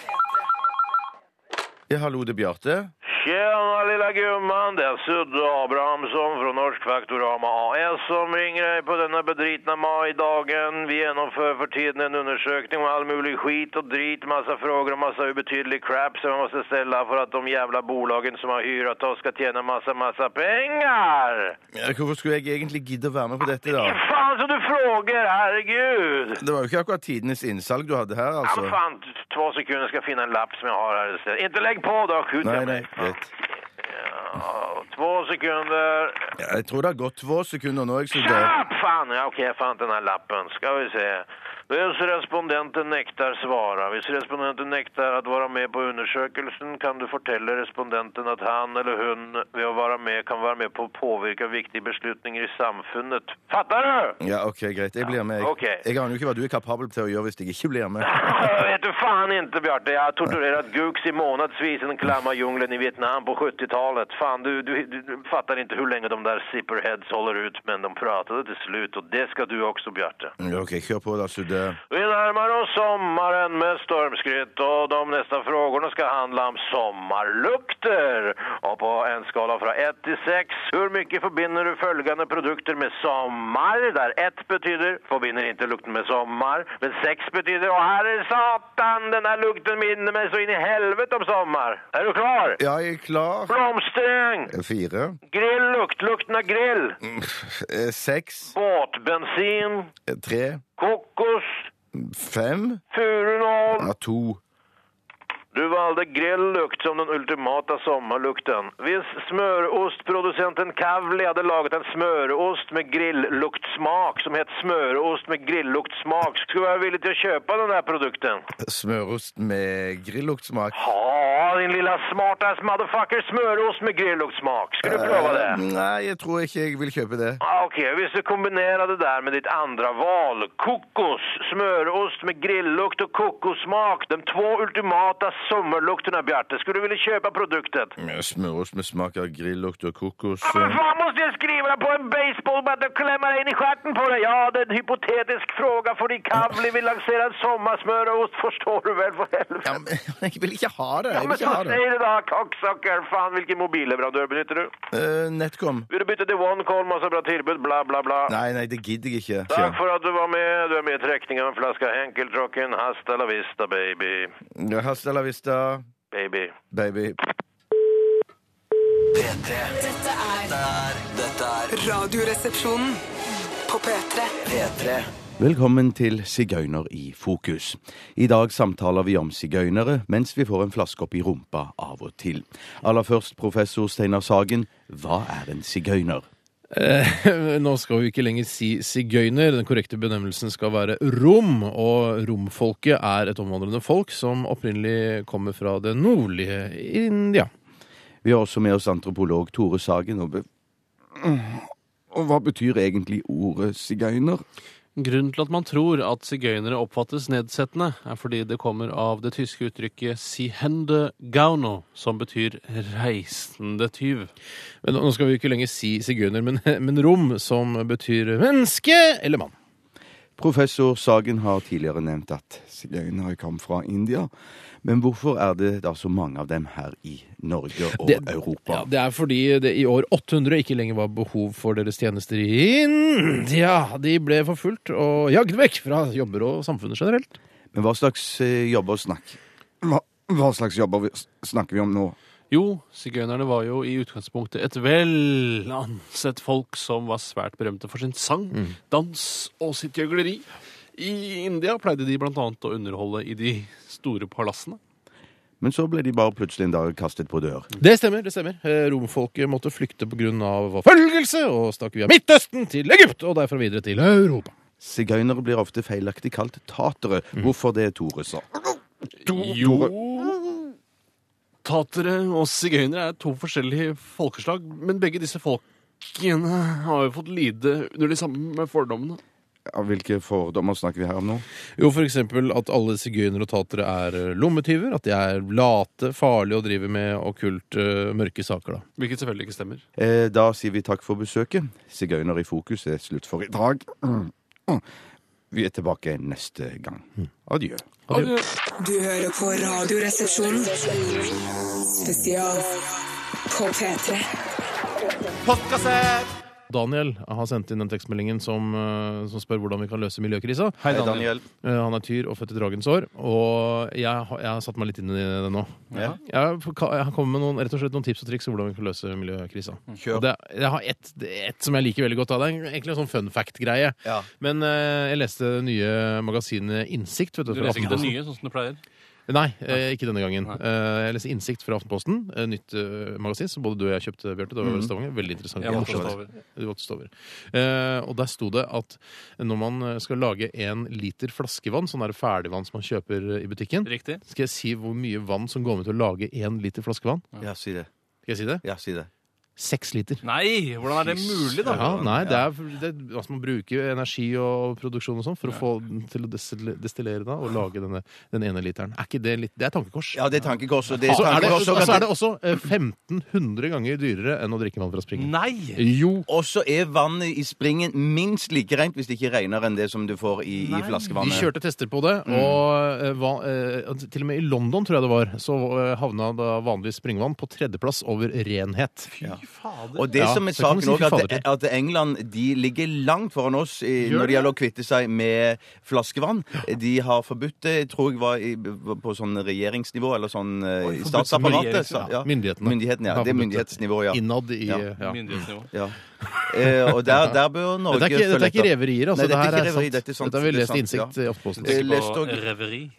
Ja, hallo, det er Bjarte.
Tjena lilla gumman, det är Sudde Abrahamsson från Norsk Faktorama AS som ringer dig på denna bedritna majdagen. Vi genomför för tiden en undersökning om all möjlig skit och drit, massa frågor och massa obetydlig crap som man måste ställa för att de jävla bolagen som har hyrat oss ska tjäna massa, massa pengar!
Ja, Hvorfor skulle jeg egentlig gidde å være med på dette, da?
Fan så du frågar, herregud!
Det var jo ikke akkurat tidenes innsalg du hadde her,
Ja men
altså.
fan, två sekunder ska jag finna en lapp som jag har här istället. Inte lägg på då, skjut
Nei,
jag
nei,
mig.
greit.
Ja, Två sekunder.
Ja, Jeg tror det har gått få sekunder nå. jeg så det.
Tjapp! Fan, ja, okej, jag fann inte den här lappen. Ska vi se. Hvis respondenten nekter svara. Hvis respondenten nekter at være med på undersøkelsen, kan du fortelle respondenten at han eller hun ved å være med kan være med på å påvirke viktige beslutninger i samfunnet. Fatter du?
Ja, ok, greit. Jeg blir med. Jeg,
ok.
jeg aner jo ikke hva du er kapabel til å gjøre hvis jeg ikke blir med.
Jeg vet du fan inte, Bjarte. Jeg har torturerat Gux i månadsvis i den klamma djungeln i Vietnam på 70-talet. Fan, du, du, du, du fattar inte hur länge de där zipperheads håller ut, men de pratade til slut og det skal du også, Bjarte.
Ja, ok, kjør på da, Sudde.
Vi nærmer oss sommaren med stormskritt og de neste frågorna skal handle om sommarlukter. Og på en skala fra 1 til 6, hvor mye forbinder du følgende produkter med sommar? Der 1 betyder forbinder ikke lukten med sommar, men 6 betyder å herre satan, denne lukten minner meg så inn i helvete om sommar. Er du klar?
Ja, jeg er klar.
Blomstereng,
Fire.
grilllukt, lukten av grill,
Eh, Seks.
båtbensin,
Eh, Tre.
kokos,
Fem.
furunål.
Ja, to.
Du valde grilllukt som den ultimata sommarlukten. Hvis smørostprodusenten Kavli hadde laget en smørost med grillluktsmak som het smørost med grillluktsmak, skulle jeg være villig til å kjøpe den der produkten.
Smørost med grilluktsmak.
Ha, din lilla smartass motherfucker, smørost med grillluktsmak. Skal du prøve det?
Eh, Nei, jeg tror ikke jeg vil kjøpe det.
Ah, Okej, hvis du kombinerar det där med ditt andra val, kokos, smörost med grilllukt och kokossmak, de två ultimata sommarlukterna, Bjarte, skulle du vilja köpa produkten?
Mm, Smørost med smak av grillukt og kokos.
Ja, men fan måste jag skriva på en baseballbatt och klämma in i stjärten på dig? Ja, det är en hypotetisk fråga för i Kavli vill lansera en sommarsmörost, förstår du väl för helvete?
Ja, men jeg vil ikke ha det.
Ja,
Jeg
men
vil
så
ikke ha det.
säg det då, cocksucker! Fan, vilken mobilleverantör benytter du?
Eh, Netcom.
Vill du byta till OneCall, massa bra tillbud, bla bla bla.
Nei, nei, det gidder jeg ikke.
Takk for at du var med. Du er med i trekning av en flaske Henkeltråkken. Hasta la vista, baby.
Ja, Hasta la vista,
Baby.
baby.
P3
Dette er
er Dette er
Radioresepsjonen.
på P3.
P3
Velkommen til Sigøyner i fokus. I dag samtaler vi om sigøynere, mens vi får en flaske opp i rumpa av og til. Aller først, professor Steinar Sagen, hva er en sigøyner?
Eh. Nå skal vi ikke lenger si sigøyner. Den korrekte benevnelsen skal være rom. Og romfolket er et omvandrende folk som opprinnelig kommer fra det nordlige India.
Vi har også med oss antropolog Tore Sagen. Og, be og hva betyr egentlig ordet sigøyner?
Grunnen til at man tror at sigøynere oppfattes nedsettende, er fordi det kommer av det tyske uttrykket 'sihende gauno', som betyr 'reisende tyv'.
Men nå skal vi ikke lenger si sigøyner, men, men rom, som betyr menneske eller mann.
Professor Sagen har tidligere nevnt at sigøynere kom fra India. Men hvorfor er det da så mange av dem her i Norge og
Det-
Europa?
Ja, det er fordi det i år 800 ikke lenger var behov for deres tjenester i India. De ble forfulgt og jagd vekk fra jobber og samfunnet generelt.
Men hva slags eh, jobber snakk? Hva, hva slags jobber vi, s- snakker vi om nå?
Jo, sigøynerne var jo i utgangspunktet et vel ansett folk som var svært berømte for sin sang, dans og sitt gjøgleri. I India pleide de blant annet å underholde i de store palassene.
Men så ble de bare plutselig en dag kastet på dør.
Det stemmer. det stemmer. Eh, Romfolket måtte flykte pga. forfølgelse og stakk via Midtøsten til Egypt og derfra videre til Europa.
Sigøynere blir ofte feilaktig kalt tatere.
Mm.
Hvorfor det, Tore sa?
Jo Tatere og sigøynere er to forskjellige folkeslag, men begge disse folkene har jo fått lide under de samme fordommene.
Ja, Hvilke fordommer snakker vi her om nå?
Jo, for eksempel at alle sigøynere og tatere er eh, lommetyver. At de er late, farlige og driver med okkult, eh, mørke saker. da.
Hvilket selvfølgelig ikke stemmer.
Eh, da sier vi takk for besøket. Sigøyner i fokus er slutt for i dag. Mm. Vi er tilbake neste gang.
Mm.
Adjø.
Adjø.
Du hører på Radioresepsjonen. Spesial på P3.
Daniel har sendt inn den tekstmeldingen som, eh, som spør hvordan vi kan løse miljøkrisa.
Hei, Daniel.
Eh, Han er tyr og født i dragens år, og jeg, har- jeg har satt meg litt inn i det nå.
Ja.
Jeg kan- jeg har kommet med noen, rett og slett noen tips og triks om hvordan vi kan løse miljøkrisa. Og Det, jeg har ett et som jeg liker veldig godt. da. Det er egentlig en sånn fun fact-greie.
Ja.
Men eh, jeg leste det nye magasinet Innsikt. Vet du,
Du
fra
leser ikke det
Aftenposten.
nye, sånn som du pleier.
Nei, eh, ikke denne gangen. Eh, Jeg leser Innsikt fra Aftenposten, eh, nytt eh, magasin som både du og jeg kjøpte, Bjarte. Det var i Stavanger. Veldig interessant.
Mm.
og
Jeg var
morsomt.
også over.
Du var til Stavanger. Eh, Og der sto det at når man eh, skal lage en liter flaskevann, sånn der ferdigvann som man kjøper eh, i butikken
Riktig.
Skal jeg si hvor mye vann som går med til å lage én liter flaskevann?
Ja, si det.
Skal jeg si det?
Ja, si det.
Seks liter.
Nei! Hvordan er det mulig, da?
Ja, nei, det er, det er altså Man bruker energi og produksjon og sånn for å få den til å destille- destillere da, og lage denne, den ene literen. Er ikke det litt Det er tankekors.
Ja, det er tankekors. Og det
Og så er det,
tankekors, og
og så
at
er det også eh, 1500 ganger dyrere enn å drikke vann fra springen.
Nei!
Jo.
Og så er vannet i springen minst like rent hvis det ikke regner enn det som du får i, i
De
flaskevannet.
kjørte tester på det,
Mm.
og eh, va, eh, til og med i London, tror jeg det var, så eh, havna da vanlig springvann på tredjeplass over renhet.
Og det
Ja,
som er
så kan man
saken
si
òg,
fy fader
at, at England de ligger langt foran oss i,
Gjør
når det
det?
gjelder å kvitte seg med flaskevann. De har forbudt det, jeg tror jeg var i, på sånn regjeringsnivå, eller sånn eh, i
forbudt
statsapparatet.
regjerings-
så- Ja.
Myndighetene.
Myndighetene, ja.
Da
Det er
forbudt det.
myndighetsnivå, ja.
Innad i
Ja.
eh, ja.
Myndighetsnivå.
ja. Eh, og der, der bør Norge
Dette er ikke, dette er ikke
følge etter.
reverier, altså.
Nei, dette er
det her
ikke reveri,
sant.
dette er sant,
Dette har vi
det er
lest i
sant,
Innsikt
ja.
i Aftenposten.
Eh,
På
leste og-
reveri.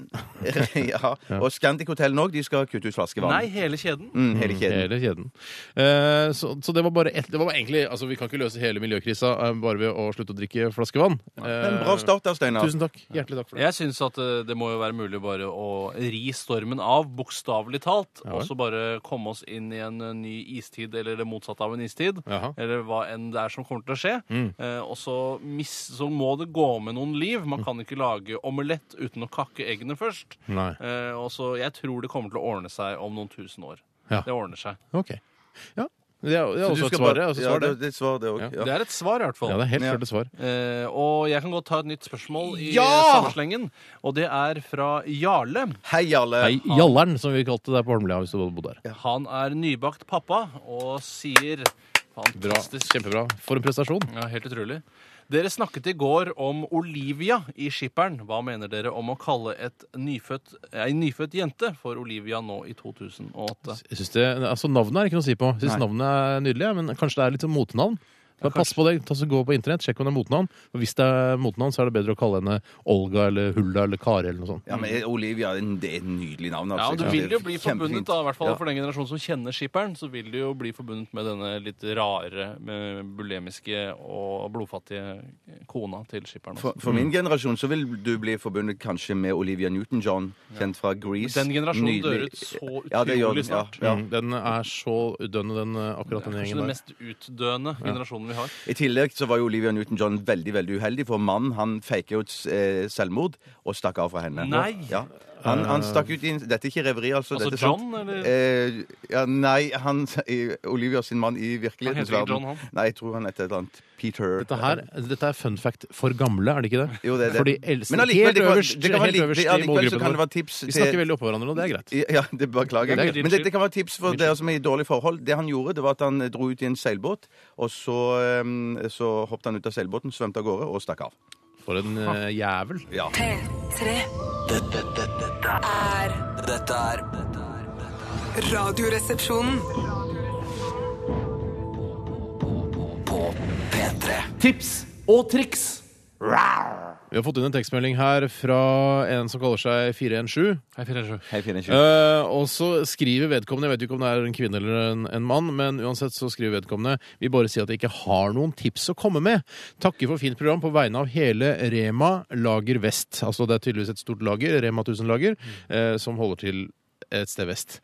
ja. Og Scandic Hotellen òg, de skal kutte ut flaskevann.
Nei, hele kjeden.
Mm, hele kjeden.
Hele kjeden. Eh, så, så det var bare ett Det var egentlig Altså, vi kan ikke løse hele miljøkrisa eh, bare ved å slutte å drikke flaskevann.
Men
Eh,
bra start der, Steinar.
Tusen takk. Hjertelig takk for det.
Jeg syns at eh, det må jo være mulig bare å ri stormen av, bokstavelig talt.
Ja vel.
Og så bare komme oss inn i en eh, ny istid, eller det motsatte av en istid.
Jaha. Mm.
Eller hva enn det er som kommer til å skje. Eh, og så, mis, så må det gå med noen liv.
Mm.
Man kan ikke lage omelett uten å kakke eggene først.
Nei.
Eh, og så Jeg tror det kommer til å ordne seg om noen tusen år.
Ja.
Det ordner seg.
Ok. Ja. Det er, det er
Du
også
skal
et svar,
bare-
det. er også et
Ja,
svar, det.
det, det er et svar, det òg.
Ja.
Det er et svar, i hvert fall.
Ja, det er helt
Ja.
klart et svar.
Eh, og jeg kan godt ta et nytt spørsmål i
Ja!
samme slengen. Og det er fra Jarle.
Hei, alle.
Nei, Jallern, som vi kalte det der på Holmlia hvis du hadde bodd der.
Han er nybakt pappa og sier
Bra.
Fantastisk.
Kjempebra. For en prestasjon.
Ja, helt utrolig. Dere snakket i går om Olivia i Skipperen. Hva mener dere om å kalle et nyfødt, ei nyfødt jente for Olivia nå i 2008?
Jeg synes det, altså Navnet er ikke noe å si på. Jeg synes Navnet er nydelig, ja, men kanskje det er litt sånn motenavn. Bare pass på det, ta så Gå på internett, sjekk om det er motenavn. Og hvis det er motenavn, så er det bedre å kalle henne Olga eller Hulda eller Kari eller noe sånt.
Ja, men Olivia, det er et nydelig navn.
Ja,
Altså.
Du
Jeg synes
vil jo
det er
bli
kjempefint.
forbundet da, i hvert fall
Ja.
for den generasjonen som kjenner Skipperen, så vil du jo bli forbundet med denne litt rare, eh, bulemiske og blodfattige kona til Skipperen. Mm.
For, for min generasjon så vil du bli forbundet kanskje med Olivia Newton-John, kjent fra Grease.
Den generasjonen dør
Nydelig.
ut så
Ja, det gjør
utrolig
den, ja.
snart.
Ja.
Mm, Den er så udønne, den, eh, akkurat den
Kanskje
gjengen
den
der.
mest utdøende generasjonen vi har.
I tillegg så var jo Olivia Newton-John veldig veldig uheldig, for mannen han faket jo et eh, selvmord og stakk av fra henne.
Nei.
Ja. Han, han
Eh.
stakk ut i en Dette er ikke reveri, altså.
Altså
dette er sant.
John, eller?
Eh, ja, nei, han i- Olivia sin mann i virkelighetens
Han heter ikke
verden.
John, han.
Nei, jeg tror han heter et eller annet Peter
Dette, her, dette er fun fact for gamle, er det ikke det?
Jo, det er det.
For de eldste,
Men allikevel,
helt
det kan-
øverst,
det kan være
helt
litt-
øverst
ja,
i
allikevel så
målgruppen.
kan
vår.
det være tips
Vi
til-
snakker veldig oppå hverandre nå, det er greit.
Ja, det beklager
Det er
jeg.
greit.
Men dette kan være tips for dere som er i dårlige forhold. Det han gjorde, det var at han dro ut i en seilbåt, og så, eh, så hoppet han ut av seilbåten, svømte av gårde og stakk av.
For en eh, jævel.
Ja.
P3
Dette, dette, dette er
er
Dette er dette er-
Radioresepsjonen.
På P3
Vi har fått inn en tekstmelding her fra en som kaller seg 417.
Hei, 427.
Hei, fine tjue.
Eh, og så skriver vedkommende, jeg vet ikke om det er en kvinne eller en, en mann, men uansett så skriver vedkommende Vi bare sier at jeg ikke har noen tips å komme med. Takker for fint program på vegne av hele Rema Lager Vest. Altså det er tydeligvis et stort lager, Rema 1000 Lager, eh, som holder til et sted vest.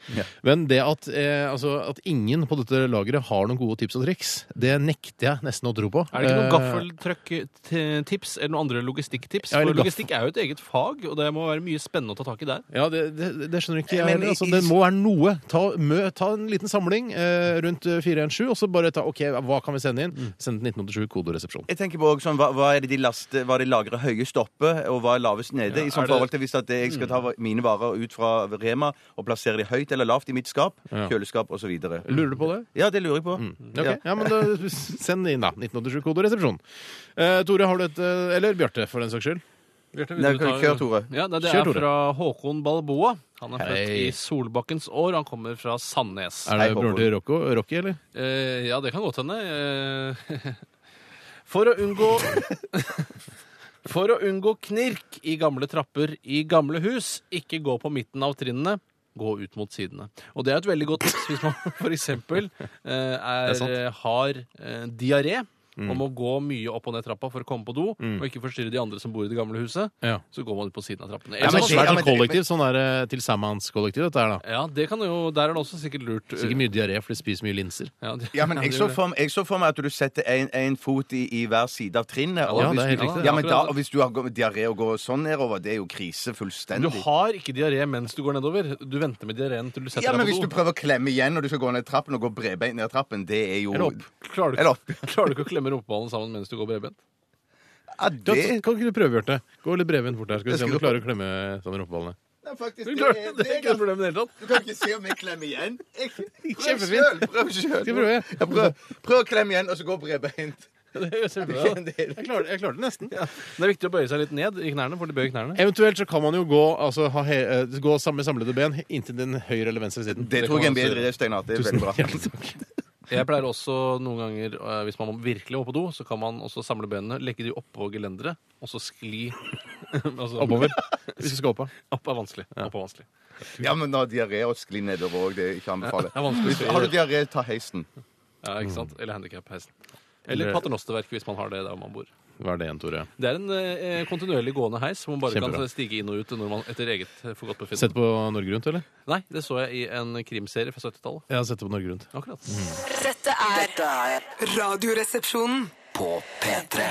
Men det at, eh, altså, at ingen på dette lageret har noen gode tips og triks, det nekter jeg nesten å tro på.
Er det ikke noen
Eh,
gaffeltrøkk-tips eller noen andre logistikktips?
Ja, eller
For logistikk er jo et eget fag, og det må være mye spennende å ta tak i der.
Ja, det, det, det skjønner ikke jeg
Men
heller. Altså,
i-
det må være noe. Ta, mø, ta en liten samling eh, rundt eh, 417, og så bare ta OK, hva kan vi sende inn?
Mm.
Send til 1987, kodoresepsjon.
Jeg tenker på også sånn, hva, hva er det de laster, hva de lagrer høyest oppe, og hva er lavest nede? I sånn
er det-
forhold til Hvis at jeg skal ta
Mm.
mine varer ut fra Rema og plassere de høyt eller lavt i mitt skap,
Ja.
kjøleskap osv.
Lurer du på det?
Eh,
Mm.
Ja, det lurer jeg på. Mm.
Ok, ja.
Ja.
men da, Send det inn, da. 1987, kodoresepsjon. Eh, Tore, har du et eh, Eller Bjarte, for den saks skyld.
Bjarte,
Nei,
vil du ta-
kjør, Tore.
Ja, nei, det
Kjør,
er
Tore.
fra Håkon Balboa. Han er født
Hei.
i Solbakkens år, han kommer fra Sandnes.
Er det
Hei, Håkon.
broren til Rocco, Rocky, eller?
Eh, ja, det kan godt hende. Eh, for å unngå For å unngå knirk i gamle trapper i gamle hus, ikke gå på midten av trinnene. Gå ut mot sidene. Og det er et veldig godt tips hvis man f.eks. Eh, er,
sant. Mm.
eh, har eh, diaré og må gå mye opp og ned trappa for å komme på do, og ikke forstyrre de andre som bor i det gamle huset.
Ja.
Så går man ut på siden av trappene.
Det er
Eller
sånn
så-
det-
svært
ja,
sånn
men det-
kollektiv, sånn der eh, til Sammans-kollektiv, dette her, da.
altså, ja, det kan jo, der er det også sikkert lurt.
Sikkert mye diaré, for de spiser mye linser.
Ja, det-
Ja, men jeg
det
så
gjør det.
for, meg- jeg så for meg at du setter en, en fot i, i hver side av trinnet. og
Ja,
hvis
det er helt
du-
riktig.
Ja, men da,
Akkurat.
og hvis du har gå- diaré og går sånn nedover, det er jo krise
Du
fullstendig.
har ikke diaré mens du går nedover. Du venter med diareen til du setter
Ja, men
deg
hvis
på
du
do.
prøver å klemme igjen når du skal gå ned trappen, og gå bredbeint ned trappen, det er jo
Eller opp. Klarer du,
Eller
ikke-
opp.
klarer du ikke å klemme rumpeballen sammen mens du går bredbent?
Ja,
Kan,
det
kan ikke du prøve, Bjarte? Gå litt bredvendt bort her, skal vi se om
Jeg
du
skal-
klarer å klemme sånn rumpeballene.
Nei, faktisk,
Du
det
klarer,
er-
det er ikke et problem i det hele tatt.
Du kan ikke se om jeg klemmer igjen. Jeg, prøv
Kjempefint.
selv, Prøv sjøl.
Skal prøve.
Prøv, prøv å klemme igjen, og så gå bredbeint.
Det gjør kjempebra.
Jeg klarte, jeg klarte det nesten.
Det er viktig å bøye seg litt ned i knærne, for de bøyer knærne.
Eventuelt så kan man jo gå, altså, ha he, eh, gå sam- med samlede ben inntil den høyre eller venstre siden.
Det tror jeg er
kan
en
man
bedre
også
idé, Steinar. Det er
gjøre.
veldig bra.
Hjertelig takk.
Jeg pleier også noen ganger, eh, hvis man må virkelig må på do, så kan man også samle benene, legge de oppå gelenderet, og så skli altså,
Oppover. Hvis du skal opp av.
Opp er vanskelig. Opp er vanskelig.
Ja, men nå diaré og skli nedover òg, det er ikke å anbefale.
Det er vanskelig å skli.
Har du diaré, ta heisen.
Ja, ikke sant? Eller handikap-heisen. Eller
Mm. Eller-
paternosterverk, hvis man har det der man bor.
Hva er det igjen, Tore?
Det er en eh, kontinuerlig gående heis hvor man bare
Kjempebra.
kan stige inn og ut når man etter eget eh,
Sett
forgodtbefinnende.
på Norge Rundt, eller?
Nei, det så jeg i en krimserie fra 70-tallet.
Ja, sett det på Norge Rundt. Mhm.
Akkurat.
Dette er
Dette er
Radioresepsjonen.
på P3.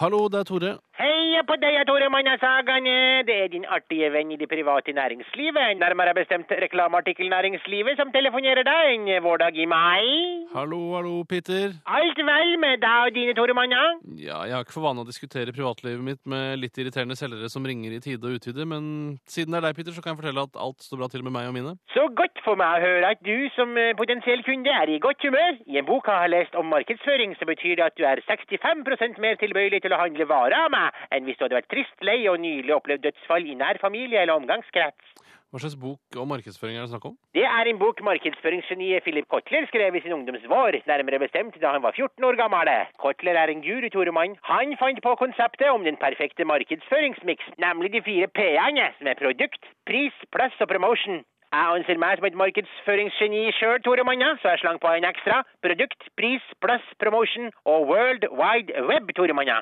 Hallo, det er Tore.
Heia på deg, Tore Magna Sagane! Det er din artige venn i det private næringslivet, nærmere bestemt reklameartikkelnæringslivet, som telefonerer deg en vårdag i mai.
Hallo, hallo, Peter.
Alt vel med deg og dine, Tore Magna?
Ja, jeg har ikke for vane å diskutere privatlivet mitt med litt irriterende selgere som ringer i tide og utide, men siden det er deg, Peter, så kan jeg fortelle at alt står bra til med meg og mine.
Så godt for meg å høre at du som eh, potensiell kunde er i godt humør. I en bok jeg har lest om markedsføring, så betyr det at du er 65 mer tilbøyelig til å handle varer av meg enn hvis du hadde vært trist, lei og nylig opplevd dødsfall i nær familie eller omgangskrets.
Hva slags bok og markedsføring er det snakk om?
Det er en bok markedsføringsgeniet Philip Kotler skrev i sin ungdomsvår, nærmere bestemt da han var 14 år gammel. Kotler er en guru, Toremann. Han fant på konseptet om den perfekte markedsføringsmiks, nemlig de fire P-ene, som er produkt, pris, plass og promotion. Jeg anser meg som et markedsføringsgeni sjøl, Toremann, ja, så jeg slang på en ekstra. Produkt, pris, plass, promotion og World Wide Web, Toremann. ja.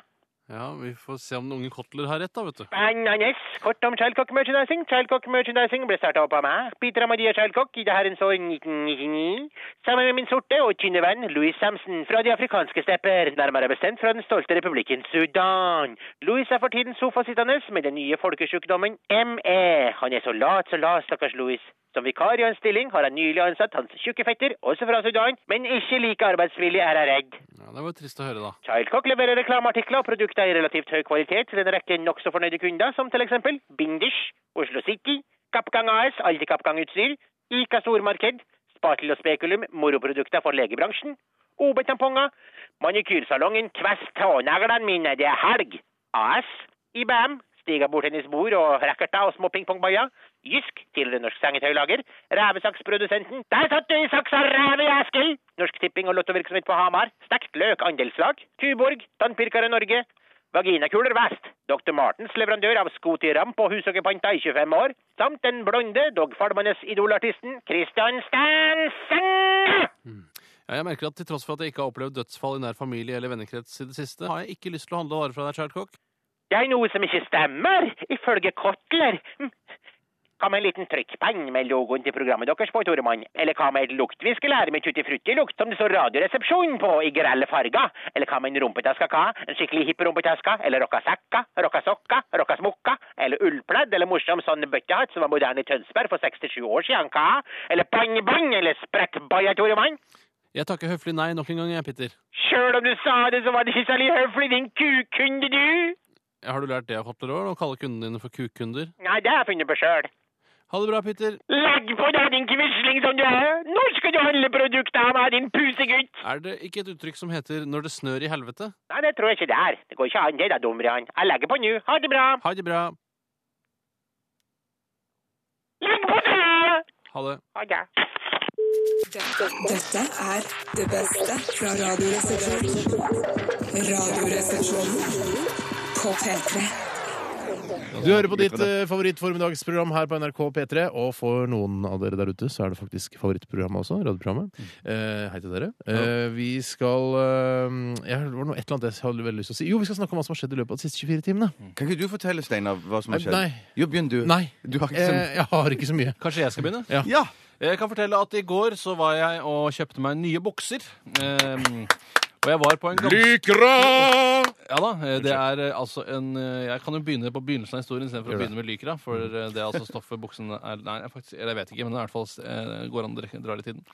Ja, vi får se om den unge Kotler har rett, da, vet du.
Ananas. Kort om Childcock Merchandising. Childcock Merchandising ble starta opp av meg, Peter Amadia Childcock, i det herrens år 1999, sammen med min sorte og tynne venn Louis Samson fra de afrikanske stepper, nærmere bestemt fra den stolte republikken Sudan. Louis er for tiden sofasittende med den nye folkesjukdommen ME. Han er så lat, så lat, stakkars Louis. Som vikar i hans stilling har han nylig ansatt hans tjukke fetter, også fra Sudan, men ikke like arbeidsvillig er jeg redd.
Ja, Det var jo trist å høre, da.
Childcock leverer reklameartikler og produkter i relativt høy kvalitet til en rekke nokså fornøyde kunder, som til eksempel Binders, Oslo City, Kappgang AS, Aldi Kappgang-utstyr, Ica Stormarked, Spatel og Spekulum, moroprodukter for legebransjen, OB-tamponger, manikyrsalongen Kvest tåneglene mine, det er helg, AS, IBM, Stiga bordtennisbord og racketer og små pingpongballer, Jysk, tidligere norsk sengetøylager, Rævesaksprodusenten, der satt du i saksa ræve, Eskil! Norsk Tipping og lottovirksomhet på Hamar, Stekt løk andelslag, Tuborg, Tannpirkere Norge, Vaginakuler Vest, Dr. Martens leverandør av sko til ramp og hushoggepanta i 25 år, samt den blonde, dogfalmende idolartisten Christian Stansen!
Ja, jeg merker at Til tross for at jeg ikke har opplevd dødsfall i nær familie eller vennekrets i det siste, har jeg ikke lyst til å handle varer fra deg, Childcock.
Det er noe som ikke stemmer, ifølge Kotler. Hm. Hva med en liten trykkpenn med logoen til programmet deres på, Toremann? Eller hva med et luktviskelær med tutti-frutti-lukt som det står Radioresepsjonen på i grelle farger? Eller hva med en rumpetaska hva? En skikkelig hipp rumpetaska? Eller rockasekka? Rockasokka? Rockasmokka? Eller ullpledd? Eller morsom sånn bøttehatt som var moderne i Tønsberg for 67 år siden, hva? Eller bang-bang? Eller sprekkbaja, Toremann?
Jeg takker høflig nei nok en gang, jeg, Peter.
Sjøl om du sa det, så var det ikke særlig høflig, din kukunde, du!
Har du lært det av Kotler òg, å kalle kundene dine for kukkunder?
Nei, det har jeg funnet på sjøl.
Ha det bra, Peter.
Legg på deg, din kvisling som du er! Når skal du handle produktet av meg, din pusegutt?
Er det ikke et uttrykk som heter 'når det snør i helvete'?
Nei, det tror jeg ikke det er. Det går ikke an, det da, dumrian. Jeg legger på nå. Ha det bra.
Ha det bra.
Legg på deg!
Ha det.
Ha det.
Dette er det beste fra Radioresepsjonen. Radioresepsjonen på P3.
Du hører på ditt eh, favorittformiddagsprogram her på NRK P3, og for noen av dere der ute så er det faktisk favorittprogrammet også, radioprogrammet.
Mm.
Eh, hei til dere. Eh, vi skal eh, jeg, Det var noe et eller annet jeg hadde veldig lyst til å si. Jo, vi skal snakke om hva som har skjedd i løpet av de siste 24 timene.
Mm.
Eh,
Kan ikke du fortelle, Steinar, hva som har skjedd?
Nei.
Jo, begynn du.
Nei.
Du har ikke så...
Eh, jeg har ikke så mye.
Kanskje jeg skal begynne?
Ja!
Jeg kan fortelle at i går så var jeg og kjøpte meg nye bukser. Ehm, og jeg var på en ganske Ja da, eh, det er eh, altså en eh, Jeg kan jo begynne på begynnelsen av historien istedenfor å begynne med lykra. For eh, det er altså stoffet buksen er Nei, jeg faktisk, eller jeg vet ikke, men det er i hvert fall eh, går an å dra- dra litt i den.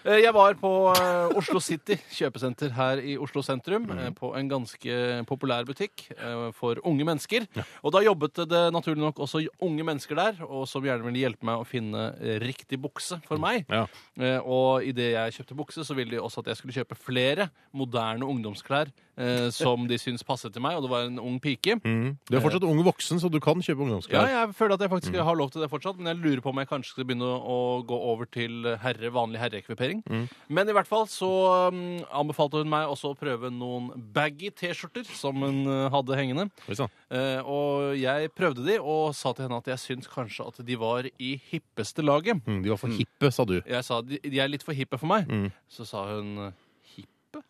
Eh, Jeg var på eh, Oslo City kjøpesenter her i Oslo sentrum. eh, På en ganske populær butikk eh, for unge mennesker. Og da jobbet det naturlig nok også unge mennesker der, og som gjerne ville hjelpe meg å finne eh, riktig bukse for meg.
Ja.
Eh, Og idet jeg kjøpte bukse, så ville de også at jeg skulle kjøpe flere moderne ungdomsklær eh, som de syntes passet til meg, og det var en ung pike.
Mm. Du er fortsatt ung voksen, så du kan kjøpe
Ja,
ungdomsklær. Mm.
jeg føler at jeg faktisk har lov til det fortsatt, men jeg lurer på om jeg kanskje skal begynne å å gå over til herre, vanlig herreekvipering. Men i hvert fall så mm, anbefalte hun meg også å prøve noen baggy T-skjorter som hun eh, hadde hengende.
Oi sann.
Eh, og jeg prøvde de, og sa til henne at jeg syns kanskje at de var i hippeste laget.
Mm, de var for hippe, sa du. Mm.
Jeg sa de, de er litt for hippe for meg. Så sa hun hippe?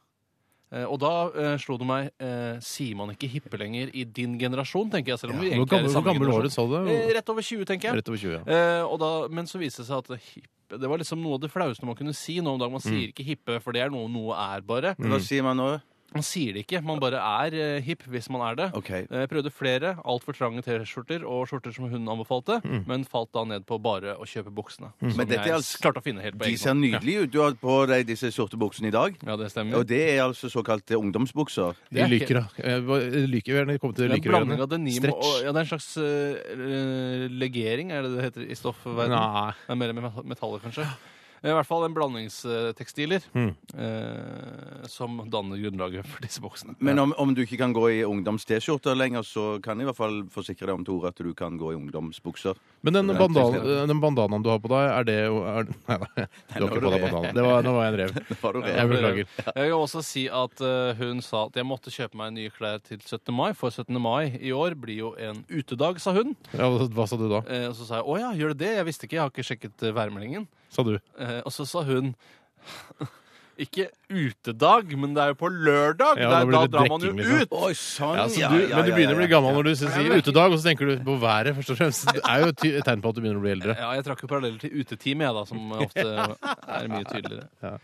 Eh, og da eh, slo det meg eh, Sier man ikke hippe lenger i din generasjon, tenker jeg. Selv om vi
Hvor
egentlig er
gammel,
i
hvor
samme
gammel var du,
generasjon.
sa du?
Eh, Rett over 20, tenker jeg.
Rett over 20, ja.
Eh, og da, men så viste det seg at hippe Det var liksom noe av det flaueste man kunne si nå om dagen. Man
Mm.
sier ikke hippe, for det er noe noe er, bare.
Hva sier man nå?
Man sier det ikke. Man bare er eh, hipp hvis man er det.
OK.
Eh, Jeg prøvde flere altfor trange T-skjorter og skjorter som hun anbefalte,
Mm.
men falt da ned på bare å kjøpe buksene. Som
Men dette er
jeg
altså-
klarte Mm. å finne helt på
De
egen
ser
hånd.
nydelige ut. Du har på deg disse sorte buksene i dag.
Ja, det stemmer.
Og det er altså såkalte ungdomsbukser.
De lyker, da. Jeg var- Lyker, vi gjerne komme til
Det er en
lykerøyene.
blanding av denim og
Stretch.
ja, Det er en slags eh, eh, legering, er det det heter i stoffverdenen?
Nei.
Det er mer med metaller, kanskje. I hvert fall en blandingstekstiler
Mm.
eh, som danner grunnlaget for disse boksene.
Men om, om du ikke kan gå i ungdoms-T-skjorter lenger, så kan jeg i hvert fall forsikre deg om, Tore, at du kan gå i ungdomsbukser.
Men den,
Ja,
bandana, den bandanaen du har på deg, er det er, Nei da, du har ikke på deg bandana. Det var, nå var jeg en rev.
Var du
Jeg
redd?
beklager.
Jeg vil også si at eh, hun sa at jeg måtte kjøpe meg nye klær til 17. mai, for 17. mai i år blir jo en utedag, sa hun.
Ja, hva- hva sa du da?
Eh, og så sa jeg å ja, gjør det det? Jeg visste ikke, jeg har ikke sjekket eh, værmeldingen.
Sa du.
Eh, og så sa hun ikke utedag, men det er jo på lørdag.
Ja,
det
da
er,
blir
da
det
drar man jo
drikking, liksom.
ut.
Oi, sånn,
Ja, så du, men du begynner å bli gammel når du sier utedag, og så tenker du på været først og fremst. Det er jo et ty- et tegn på at du begynner å bli eldre.
Ja, jeg trakk jo paralleller til utetime, jeg da, som ofte er mye tydeligere.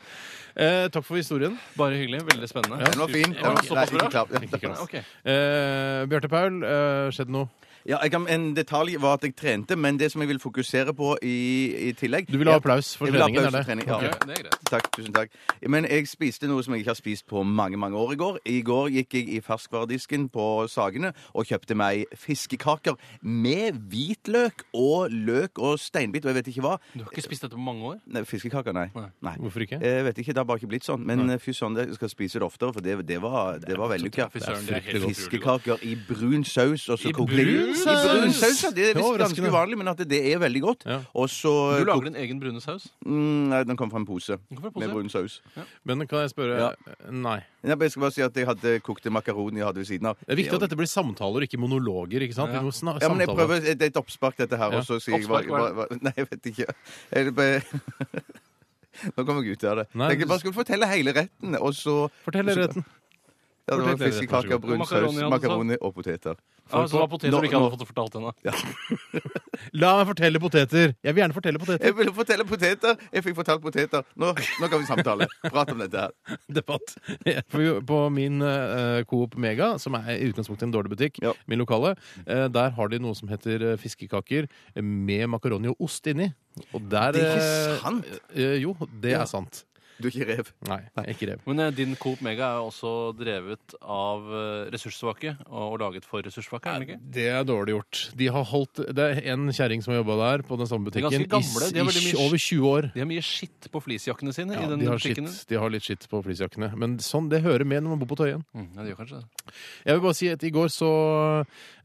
Eh, takk for historien.
Bare hyggelig. Veldig spennende.
Den var fin.
Ja,
Nei,
såpass
ikke
bra.
klapp.
Ikke klapp.
Ok.
Eh, Bjarte Paul, eh, skjedd noe?
Ja, jeg kan, en detalj var at jeg trente, men det som jeg vil fokusere på i, i tillegg
Du vil ha
Ja.
applaus for
Jeg vil ha
treningen,
applaus
er
for
det?
trening, ja.
Ja, det er greit.
Takk, tusen takk. Men jeg spiste noe som jeg ikke har spist på mange mange år i går. I går gikk jeg i ferskvaredisken på Sagene og kjøpte meg fiskekaker med hvitløk og løk og steinbit og jeg vet ikke hva.
Du har ikke spist dette på mange år?
Nei, fiskekaker, nei.
Nei.
nei.
Hvorfor ikke?
Jeg vet ikke, Det har bare ikke blitt sånn. Men fy søren, jeg skal spise det oftere, for det, det var, det var vellykka.
Fy søren, det er helt utrolig godt.
Fiskekaker i brun saus. Og så
I
koker
brun
jeg-
saus?
I brun saus, ja. Det er
Det var
visst ganske
overraskende.
uvanlig, men at det er veldig godt.
Ja.
Og så eh,
Du lager din egen brune saus?
Mm, Nei, den kom fra en pose
kom fra en pose,
med
ja.
brun saus.
Men kan jeg spørre eh, Nei.
Nei, men Jeg skal bare si at jeg hadde kokte makaroni jeg hadde ved siden av.
Det er viktig at dette blir samtaler, ikke monologer. ikke sant? Vi må sna-
ja, men jeg
samtale.
prøver, Det er et oppspark, dette her.
Ja.
Og så sier jeg hva,
Oppspark,
hva,
hva er
hva Nei, jeg vet ikke. Jeg bare... Nå kommer jeg ut av det.
Nei,
jeg bare skulle fortelle hele retten, og så
Fortell retten.
ja, det
fortell hele retten,
var
vær så
Fiskekaker,
god.
brun
Og makaroni altså,
saus,
hadde du
makaroni og poteter.
Ja, så det var poteter
Nå-
du ikke hadde fått fortalt henne.
La meg fortelle poteter. Jeg vil gjerne fortelle poteter.
Jeg ville fortelle poteter! Jeg fikk fortalt poteter. Nå, nå kan vi samtale. Prat om dette her.
debatt. For jo, På min eh, Coop Mega, som er i utgangspunktet en dårlig butikk,
Ja.
min lokale, eh, der har de noe som heter eh, fiskekaker med makaroni og ost inni. Og der
Det er ikke
eh,
sant.
eh, jo, det er sant.
Du er ikke rev.
Nei, ikke rev.
Men eh, din Coop Mega er jo også drevet av eh, ressurssvake og, og laget for ressurssvake, er den ikke?
Det er dårlig gjort. De har holdt, Det er en kjerring som har jobba der, på den samme
er
butikken,
ganske
i
gamle, de har veldig
s- i
mye-
over 20 år.
De har mye skitt på fleecejakkene sine
Ja,
i den
de, har
butikken.
skitt- de har litt skitt på fleecejakkene. Men sånn, det hører med når man bor på Tøyen.
Mm, ja, de gjør kanskje det.
Jeg vil bare si at i går så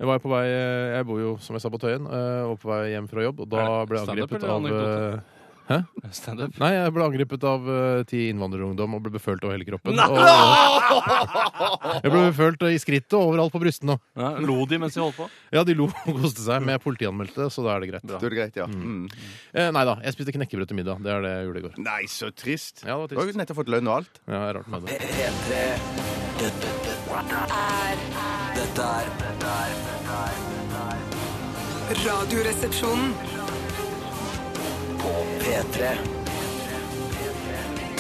var jeg på vei Jeg bor jo, som jeg sa, eh, på Tøyen, eh, og på vei hjem fra jobb, og da
Er det
ble jeg
standup
angrepet
eller
av eh, Hæ?
Standup.
Nei, jeg ble angrepet av eh, ti innvandrerungdom og ble befølt over hele kroppen.
Nei!
Og, jeg ble befølt i skrittet og overalt på brystene.
Ja, Lo de mens de holdt på?
Ja, de lo og koste seg, men jeg politianmeldte, så da er det greit.
Da er det greit, ja. Mm.
Eh, nei da, jeg spiste knekkebrød til middag. Det er det jeg gjorde i går.
Nei, så trist.
Ja, det var trist.
Du har jo nettopp fått lønn og alt.
Ja, det er rart med det.
P3 Dette, dette, dette er Dette er dette er
Radioresepsjonen.
På P3
P3.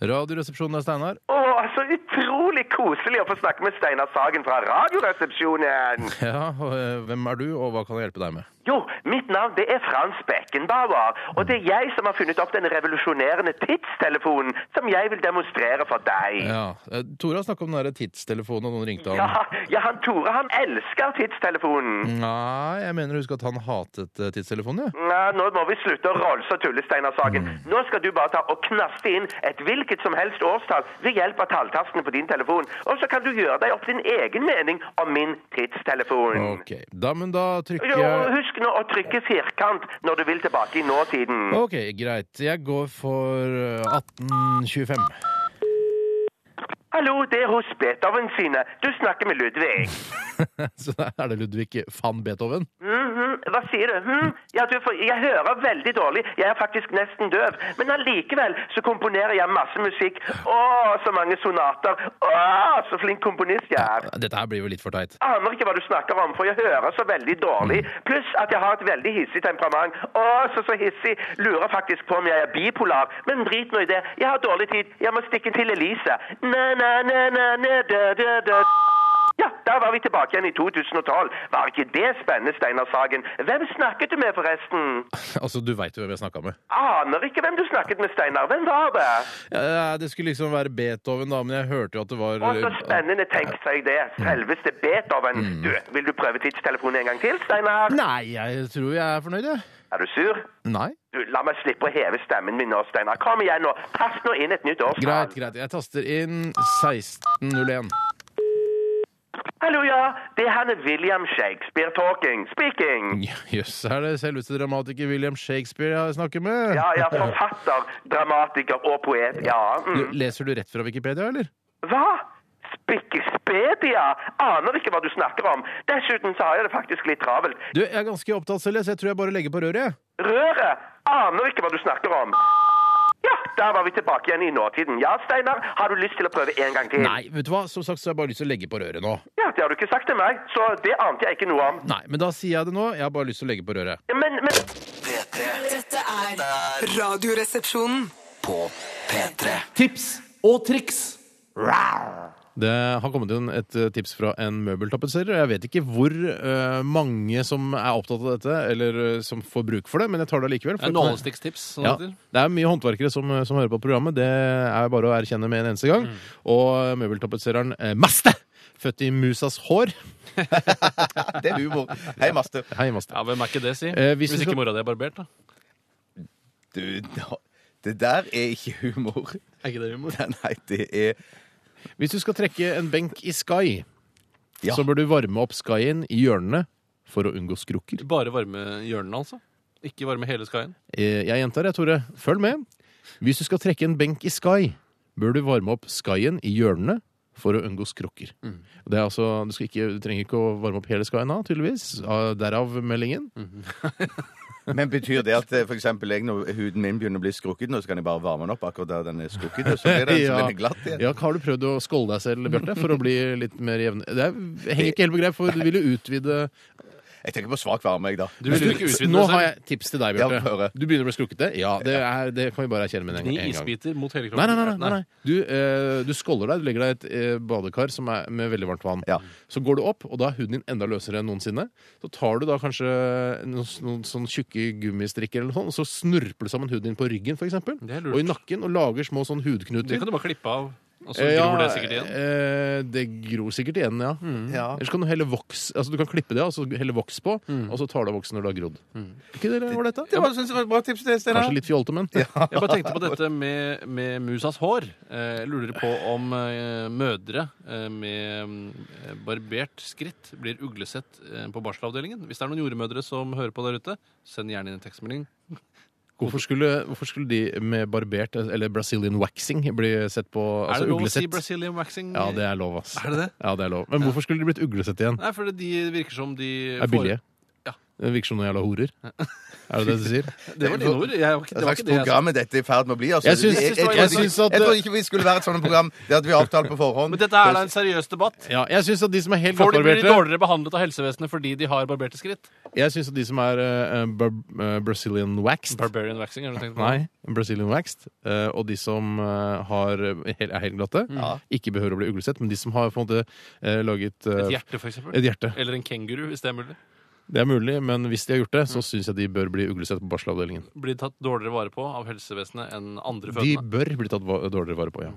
Radioresepsjonen er Steinar.
Å, så utrolig koselig å få snakke med Steinar Sagen fra Radioresepsjonen.
Ja, og, eh, hvem er du, og hva kan jeg hjelpe deg med?
Jo, mitt navn det er Frans Beckenbauer, og det er jeg som har funnet opp den revolusjonerende tidstelefonen som jeg vil demonstrere for deg.
Ja, eh, Tore har snakket om den der tidstelefonen, og noen ringte
Ja,
han.
ja han Tore han elsker tidstelefonen.
Nei, jeg mener å huske at han hatet eh, tidstelefonen, ja.
Nei, nå må vi slutte å rolse og tulle, Steinar Sagen.
Mm.
Nå skal du bare ta og knaste inn et hvilket som helst årstall ved hjelp av talltastene på din telefon, og så kan du gjøre deg opp din egen mening om min tidstelefon.
Ok, da, men da trykker
Jo,
jeg
husk nå å trykke firkant når du vil tilbake i nåtiden.
Ok, greit. Jeg går for eh, 1825.
Hallo, det er hos Beethoven sine. Du snakker med Ludvig.
Så da er det Ludvig van Beethoven.
Mhm, Hva sier du? Hm? Ja, du får, jeg hører veldig dårlig. Jeg er faktisk nesten døv. Men allikevel så komponerer jeg masse musikk. Å, så mange sonater. Å, så flink komponist jeg er.
Dette her blir jo litt for teit.
Aner ikke hva du snakker om, for jeg hører så veldig dårlig. Pluss at jeg har et veldig hissig temperament. Å, så så hissig. Lurer faktisk på om jeg er bipolar. Men drit nå i det. Jeg har dårlig tid. Jeg må stikke til Elise. Næ, næ, næ, næ, næ, dø, dø, dø. Ja, da var vi tilbake igjen i 2012. Var ikke det spennende, Steinar Sagen? Hvem snakket du med, forresten?
Altså, du veit jo hvem jeg snakka med.
Aner ikke hvem du snakket med, Steinar. Hvem var det?
Ja, det skulle liksom være Beethoven, da, men jeg hørte jo at det var eh,
Å, så spennende. Tenk seg det. Selveste Beethoven. Du, vil du prøve tidstelefonen en gang til, Steinar?
Nei, jeg tror jeg er fornøyd, jeg.
Er du sur?
Nei.
Du, La meg slippe å heve stemmen min nå, Steinar. Kom igjen nå. Pass nå inn et nytt årstall.
Greit, greit. Jeg taster inn 1601.
Hallo, ja. Det er han William Shakespeare talking. Speaking.
Ja, Jøss, er det selveste dramatiker William Shakespeare jeg snakker med?
Ja, ja. Forfatter, dramatiker og poet. Ja.
Du,
Mm.
leser du rett fra Wikipedia, eller?
Hva? Spikkespedia? Aner ikke hva du snakker om. Dessuten så har jeg det faktisk litt travelt.
Du, jeg er ganske opptatt selv, jeg, så jeg tror jeg bare legger på røret. jeg.
Røret? Aner ikke hva du snakker om. Ja, der var vi tilbake igjen i nåtiden. Ja, Steinar, har du lyst til å prøve en gang til?
Nei, vet du hva? Som sagt så har jeg bare lyst til å legge på røret nå.
Ja, det har du ikke sagt til meg, så det ante jeg ikke noe om.
Nei, men da sier jeg det nå. Jeg har bare lyst til å legge på røret.
Men, men
P3
Dette er Radioresepsjonen.
På P3
Det har kommet inn et eh, tips fra en møbeltapetserer. og Jeg vet ikke hvor eh, mange som er opptatt av dette, eller eh, som får bruk for det, men jeg tar det allikevel. for-
En nålestikkstips. Sånn
Ja,
det heter.
det er mye håndverkere som, som hører på programmet. Det er bare å erkjenne med en eneste gang.
Mm.
Og møbeltapetsereren eh, Maste, født i musas hår.
Det er humor. Hei, Master.
Hei, Maste.
Ja, Hvem er ikke det, si?
Eh, hvis
hvis
vi
ikke
skal-
mora di er barbert, da.
Du, nå- det der er ikke humor.
Er ikke det humor?
Nei, det er
Hvis du skal trekke en benk i Sky,
Ja.
så bør du varme opp Skyen i hjørnene for å unngå skrukker.
Bare varme hjørnene, altså? Ikke varme hele skaien?
Eh, Jeg gjentar det, Tore. Følg med. Hvis du skal trekke en benk i Sky, bør du varme opp Skyen i hjørnene for å unngå skrukker.
Mm.
Det er altså, du, skal ikke, du trenger ikke å varme opp hele Skyen da, tydeligvis. Ah, Derav meldingen.
Mm. Men betyr det at eh, for eksempel jeg, når huden min begynner å bli skrukket, nå, så kan jeg bare varme den opp akkurat der den er skrukket, og så blir den, så blir den glatt igjen?
Ja, har du prøvd å skålde deg selv, Bjarte, for å bli litt mer jevn? Det er- henger ikke helt på greip, for du vil jo utvide
Jeg tenker på svak varme, jeg, da.
Du vil jo ikke utvide
Nå
deg
har
selv.
jeg tips til deg,
Ja, få
Bjarte.
høre.
Du begynner å bli skrukkete? Ja, det, er, det kan vi bare erkjenne med en,
Ni
en gang.
isbiter mot hele
Nei,
kroppen.
nei, nei. nei, nei. Du, eh, du skålder deg. Du legger deg i et eh, badekar som er med veldig varmt vann.
Ja.
Så går du opp, og da er huden din enda løsere enn noensinne. Så tar du da kanskje noen, noen sånn tjukke gummistrikker eller noe sånt, og så snurper du sammen huden din på ryggen, for eksempel.
Det er lurt.
Og i nakken, og lager små sånn hudknuter.
Det kan du bare klippe av. Og så gror det sikkert igjen. Mm.
Eh, det gror sikkert igjen, ja.
Ja.
Ellers kan du helle voks Altså du kan klippe det og så helle voks på,
Mm.
og så tar du av voksen når det har grodd. Ikke det var dette?
Det var, synes jeg var et bra tips, det, Steinar.
Kanskje litt fjolte, men
Jeg bare tenkte på dette med, med musas hår. Eh, Jeg lurer på om eh, mødre eh, med mm, barbert skritt blir uglesett eh, på barselavdelingen. Hvis det er noen jordmødre som hører på der ute, send gjerne inn en tekstmelding.
hvorfor, skulle, hvorfor skulle de med barbert eller Brazilian waxing bli sett på
er
altså,
det lov å si
uglesett?
Brazilian waxing?
Ja, det er lov, ass.
Er det det?
Ja, det er lov. Men hvorfor skulle de blitt uglesett igjen?
Nei, for de virker som de
Det Mm. er
får-
billige.
Ja.
Det virker som noen jævla horer. Er det det du sier?
Det var dine ord. Jeg, var ikke-
Hva
det var
slags
ikke det jeg sa.
program er dette i ferd med å bli? Altså,
Jeg syns-
jeg
jeg, trodde
syns
ikke-
at-
jeg trodde ikke vi skulle være et sånt program. Det hadde vi avtalt på forhånd.
Men dette er da en seriøs debatt.
Ja, jeg syns at de som er helt
Folk blir
glattbarberte
dårligere behandlet av helsevesenet fordi de har barberte skritt.
Jeg synes at de som er eh, bar eh, Brazilian waxed
Barbarian waxing, har du tenkt på?
Nei, Brazilian waxed. eh, og de som eh, har, er helt glatte,
Mm.
ikke behøver å bli uglesett. Men de som har på en måte eh, laget eh,
Et hjerte, for eksempel.
et hjerte.
Eller en kenguru, hvis det er mulig.
Det er mulig, men hvis de har gjort det, så syns jeg de bør bli uglesett på barselavdelingen.
Blir tatt dårligere vare på av helsevesenet enn andre
De
fødende.
bør bli tatt va- dårligere vare på, ja.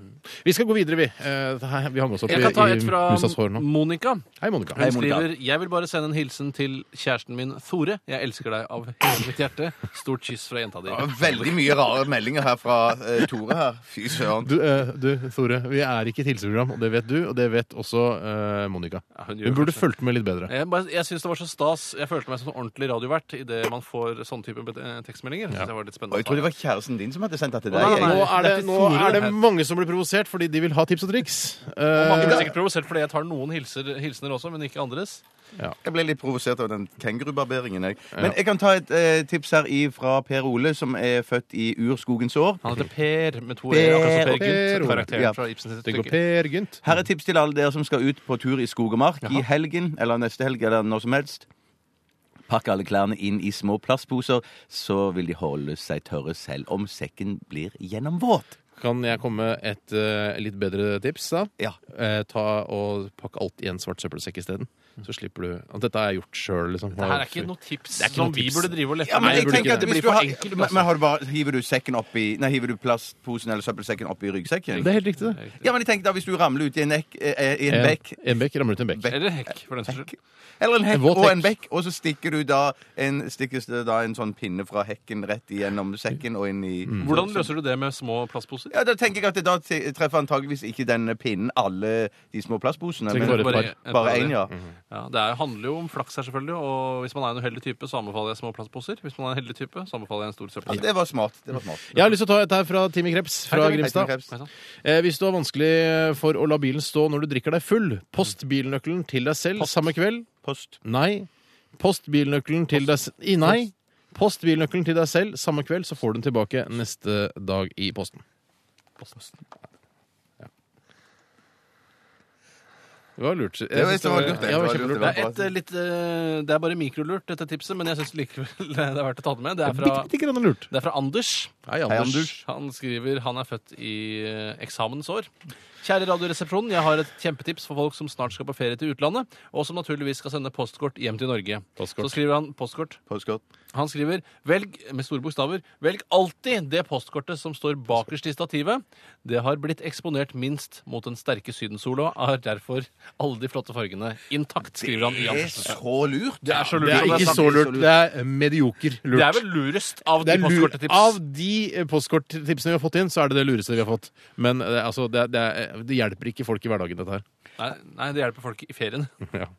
Vi skal gå videre, vi. Eh, det her- vi hang oss opp i,
Jeg kan ta
i
et fra
musas hår nå.
Monica.
Hei, Monica.
Hun skriver Jeg vil bare sende en hilsen til kjæresten min Tore. Jeg elsker deg av hele mitt hjerte. Stort kyss fra jenta di.
Ja, Veldig mye rare meldinger her fra eh, Tore her. Fy søren.
Du, eh, du, Tore, vi er ikke et hilseprogram, og det vet du, og det vet også eh, Monica.
Ja, hun gjør
Hun burde
kanskje-
fulgt med litt bedre.
Jeg, bare- jeg synes det var så stas. Jeg følte meg som en ordentlig radiovert idet man får sånne type eh, tekstmeldinger. Jeg synes det var litt
Og
spennende.
jeg tror det var kjæresten din som hadde sendt dette til
Nei,
deg.
nei,
jeg.
Nå er det,
Det er ikke
nå
Tore,
er det
det her.
mange som blir provosert fordi de vil ha tips og triks.
Og Mange blir
Eh,
sikkert provosert fordi jeg tar noen hilser, hilsener også, men ikke andres.
Jeg ble litt provosert av den kengurubarberingen. Jeg. Men jeg kan ta et eh, tips her i fra Per Ole, som er født i urskogens år.
Han heter Per med to
Per,
e, akkurat som Per
Per
Gynt.
Ole.
Ja.
Karakteren fra Ibsens
det går
stykke.
Per Gynt.
Her er tips til alle dere som skal ut på tur i skog og mark i helgen eller neste helg eller når som helst. Pakk alle klærne inn i små plastposer, så vil de holde seg tørre selv om sekken blir gjennomvåt.
Kan jeg komme med et eh, litt bedre tips, da?
Ja.
Eh, ta og Pakk alt i en svart søppelsekk isteden. Så slipper du at Dette har jeg gjort sjøl. Liksom.
Det her er ikke noe tips
Det er ikke
som
noe
vi
tips.
burde drive og lette
Ja, men
Nei,
jeg
det burde
tenker
ikke
at
det. Det
hvis
blir
du
for
har,
enkelt.
men,
altså.
men har du bare, hiver du sekken opp i, nei, hiver du plastposen eller søppelsekken opp i ryggsekken?
Det er helt riktig, det.
Ja, men jeg tenker da, hvis du ramler ut i en, ekk, eh, i en
En,
bekk,
en bekk ramler ut i en bekk.
Eller hekk, for den saks skyld.
eller en
En
hekk
våt
og
hekk.
en bekk, og så stikker du da en, stikkes det da en sånn pinne fra hekken rett igjennom sekken og inn i...
Hvordan løser du det med små plastposer?
Ja, da tenker jeg at det da t- treffer antageligvis ikke den pinnen alle de små plastposene.
Trenger bare
Men
et
bare-
par.
bare Mhm. én, ja.
Ja, det er, handler jo om flaks her, selvfølgelig. Og hvis man er en uheldig type, så anbefaler jeg små plastposer. Hvis man er en heldig type, så anbefaler jeg en stor
Ja,
søppelsekk.
Det var smart. Det var smart.
Jeg har lyst til å ta et her fra Timmy Kreps fra
Hei, Tim
Grimstad.
Krebs.
Nei, sant?
Eh, hvis du har vanskelig for å la bilen stå når du drikker deg full, post bilnøkkelen til deg selv samme kveld.
Post.
Nei. Post bilnøkkelen til deg s- i Nei. Post bilnøkkelen til deg selv samme kveld, så får du den tilbake neste dag i posten. Ja. Det var lurt. Jeg
Det var-
synes
det var lurt, det.
ja,
Det var
kjempelurt.
lurt,
Det er, et, eh, litt, eh, det er bare mikrolurt, dette tipset, men jeg syns likevel det er verdt å ta det med. Det er fra,
Bitte, bitte grann lurt.
det er fra Anders.
Hei,
Anders.
Anders.
Han skriver han er født i eh, eksamensår. Kjære Radioresepsjonen, jeg har et kjempetips for folk som snart skal på ferie til utlandet, og som naturligvis skal sende postkort hjem til Norge.
Postkort.
Så skriver han postkort.
Postkort.
Han skriver velg med store bokstaver velg alltid det postkortet som står bakerst i stativet. Det har blitt eksponert minst mot den sterke sydensola og har derfor alle de flotte fargene intakt, skriver han i
Det er
Andersen.
så lurt.
Det er så lurt.
Det er
som
ikke
sant.
så lurt. Det er medioker lurt.
Det er vel lurest av
Det
de
er lur,
postkortetips.
av de eh, postkorttipsene vi har fått inn, så er det det lureste vi har fått. Men eh, altså, det, er- det, er, det hjelper ikke folk i hverdagen, dette her.
Nei, nei, det hjelper folk i ferien.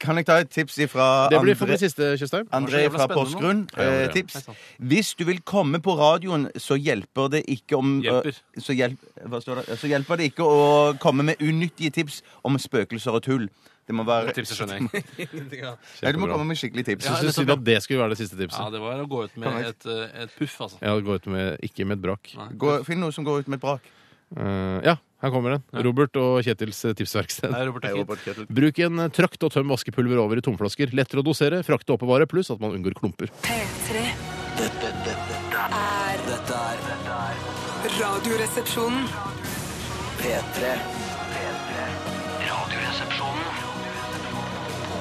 Kan jeg ta et tips fra
Det blir for min
André,
siste, eh, Tjøstheim.
André
jævla
fra
spennende nå.
Porsgrunn?
Ja, ja, ja.
Eh, tips.
Nei, sant.
Hvis du vil komme på radioen, så hjelper det ikke om
Hjelper.
eh, Så, hjelp, hva står det? så hjelper det ikke å komme med unyttige tips om spøkelser og tull. Det må være
Tipset skjønner jeg.
Nei, du må komme med skikkelig tips.
Jeg syns synd at det skulle være det siste tipset.
Ja, det var å gå ut med et, eh, et puff, altså.
Jeg hadde gått ut med, ikke med et brak.
Gå, finn noe som går ut med brak.
Eh, ja, her kommer den. Robert og Kjetils eh, tipsverksted.
Nei, Robert er fint.
Bruk en eh, trakt og tøm vaskepulver over i tomflasker. Lettere å dosere, frakte og oppbevare, pluss at man unngår klumper.
P3
Dette, dette, dette er Dette er dette er
Radioresepsjonen
P3. P3. Radioresepsjonen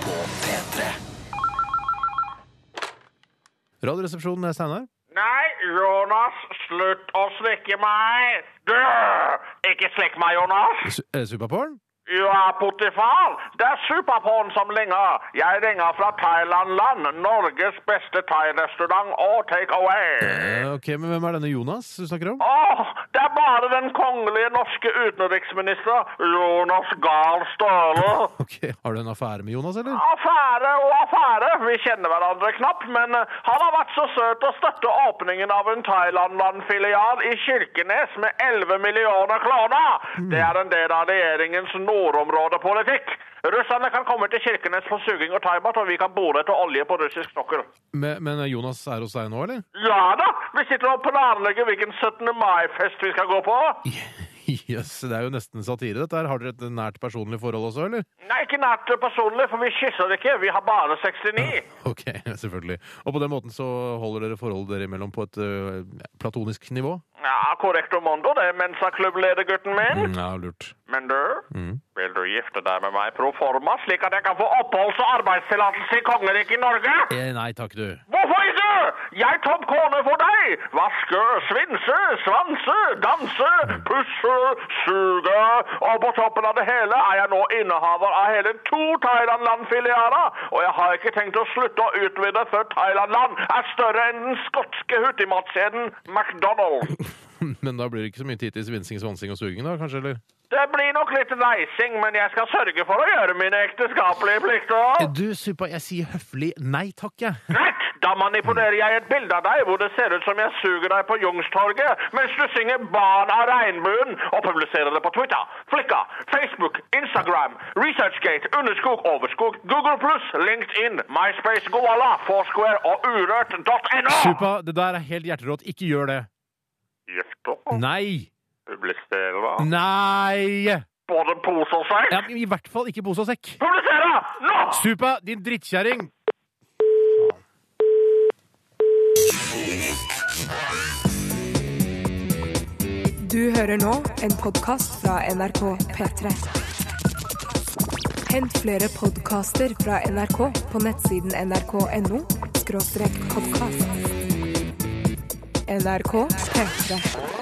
på P3.
Radioresepsjonen er Steinar.
Nei, Jonas, slutt å slikke meg! Du, Ikke slekk meg, Jonas.
Su- eh, Superporn?
Ja, Potifar, det er Superporn som ringer. Jeg ringer fra Thailand-land, Norges beste thai-restaurant og take away.
Eh, Ok, men hvem er denne Jonas du snakker om?
Åh, det er bare den kongelige norske utenriksminister Jonas Gahr Støre.
Ok, Har du en affære med Jonas, eller?
Affære og affære, vi kjenner hverandre knapt, men eh, han har vært så søt å støtte åpningen av en Thailand-filial i Kirkenes med 11 millioner kroner. Det er en del av regjeringens nordområdepolitikk. Russerne kan komme til Kirkenes for suging og thaimat, og vi kan bore etter olje på russisk sokkel.
Men, men Jonas er hos deg nå, eller?
Ja da, vi sitter og planlegger hvilken 17. mai-fest vi skal gå på.
Jøss, det er jo nesten satire, dette her. Har dere et nært personlig forhold også, eller?
Nei, ikke nært personlig, for vi kysser ikke. Vi har bare 69.
Ok, selvfølgelig. Og på den måten så holder dere forholdet dere imellom på et ø, platonisk nivå?
Ja, korrekt Mondo, det er Mensa-klubbledergutten min.
Mm, Ja, lurt.
Men du, vil du gifte deg med meg pro forma, slik at jeg kan få oppholds- og arbeidstillatelse i kongeriket i Norge?
Eh, nei takk, du.
Hvorfor ikke? Jeg tok kone for deg! Vaske, svinse, svanse, danse, pusse, suge. Og på toppen av det hele er jeg nå innehaver av hele to Thailand-land-filialer. Og jeg har ikke tenkt å slutte å utvide før Thailand-land er større enn den skotske hurtigmatkjeden McDonald's.
Men da blir det ikke så mye tid til svinsing, svansing og suging, da, kanskje? eller?
Det blir nok litt reising, men jeg skal sørge for å gjøre mine ekteskapelige plikter.
Eh, Du, Suppa, jeg sier høflig nei takk, jeg.
Greit, da manipulerer jeg et bilde av deg hvor det ser ut som jeg suger deg på Jungstorget mens du synger 'Barn av regnbuen' og publiserer det på Twitter, Flikka, Facebook, Instagram, Researchgate, Underskog, Overskog, Google LinkedIn, MySpace, Goala, Foursquare og urørt.no.
Suppa, det der er helt hjerterått. Ikke gjør det.
Gifter,
Nei!
publiserer,
Nei!
både pose og sekk.
Ja, men I hvert fall ikke pose og sekk.
Publiserer nå!
Supa, din drittkjerring!
Du hører nå en podkast fra NRK P3. Hent flere podkaster fra NRK på nettsiden nrk.no podkast. NRK P3.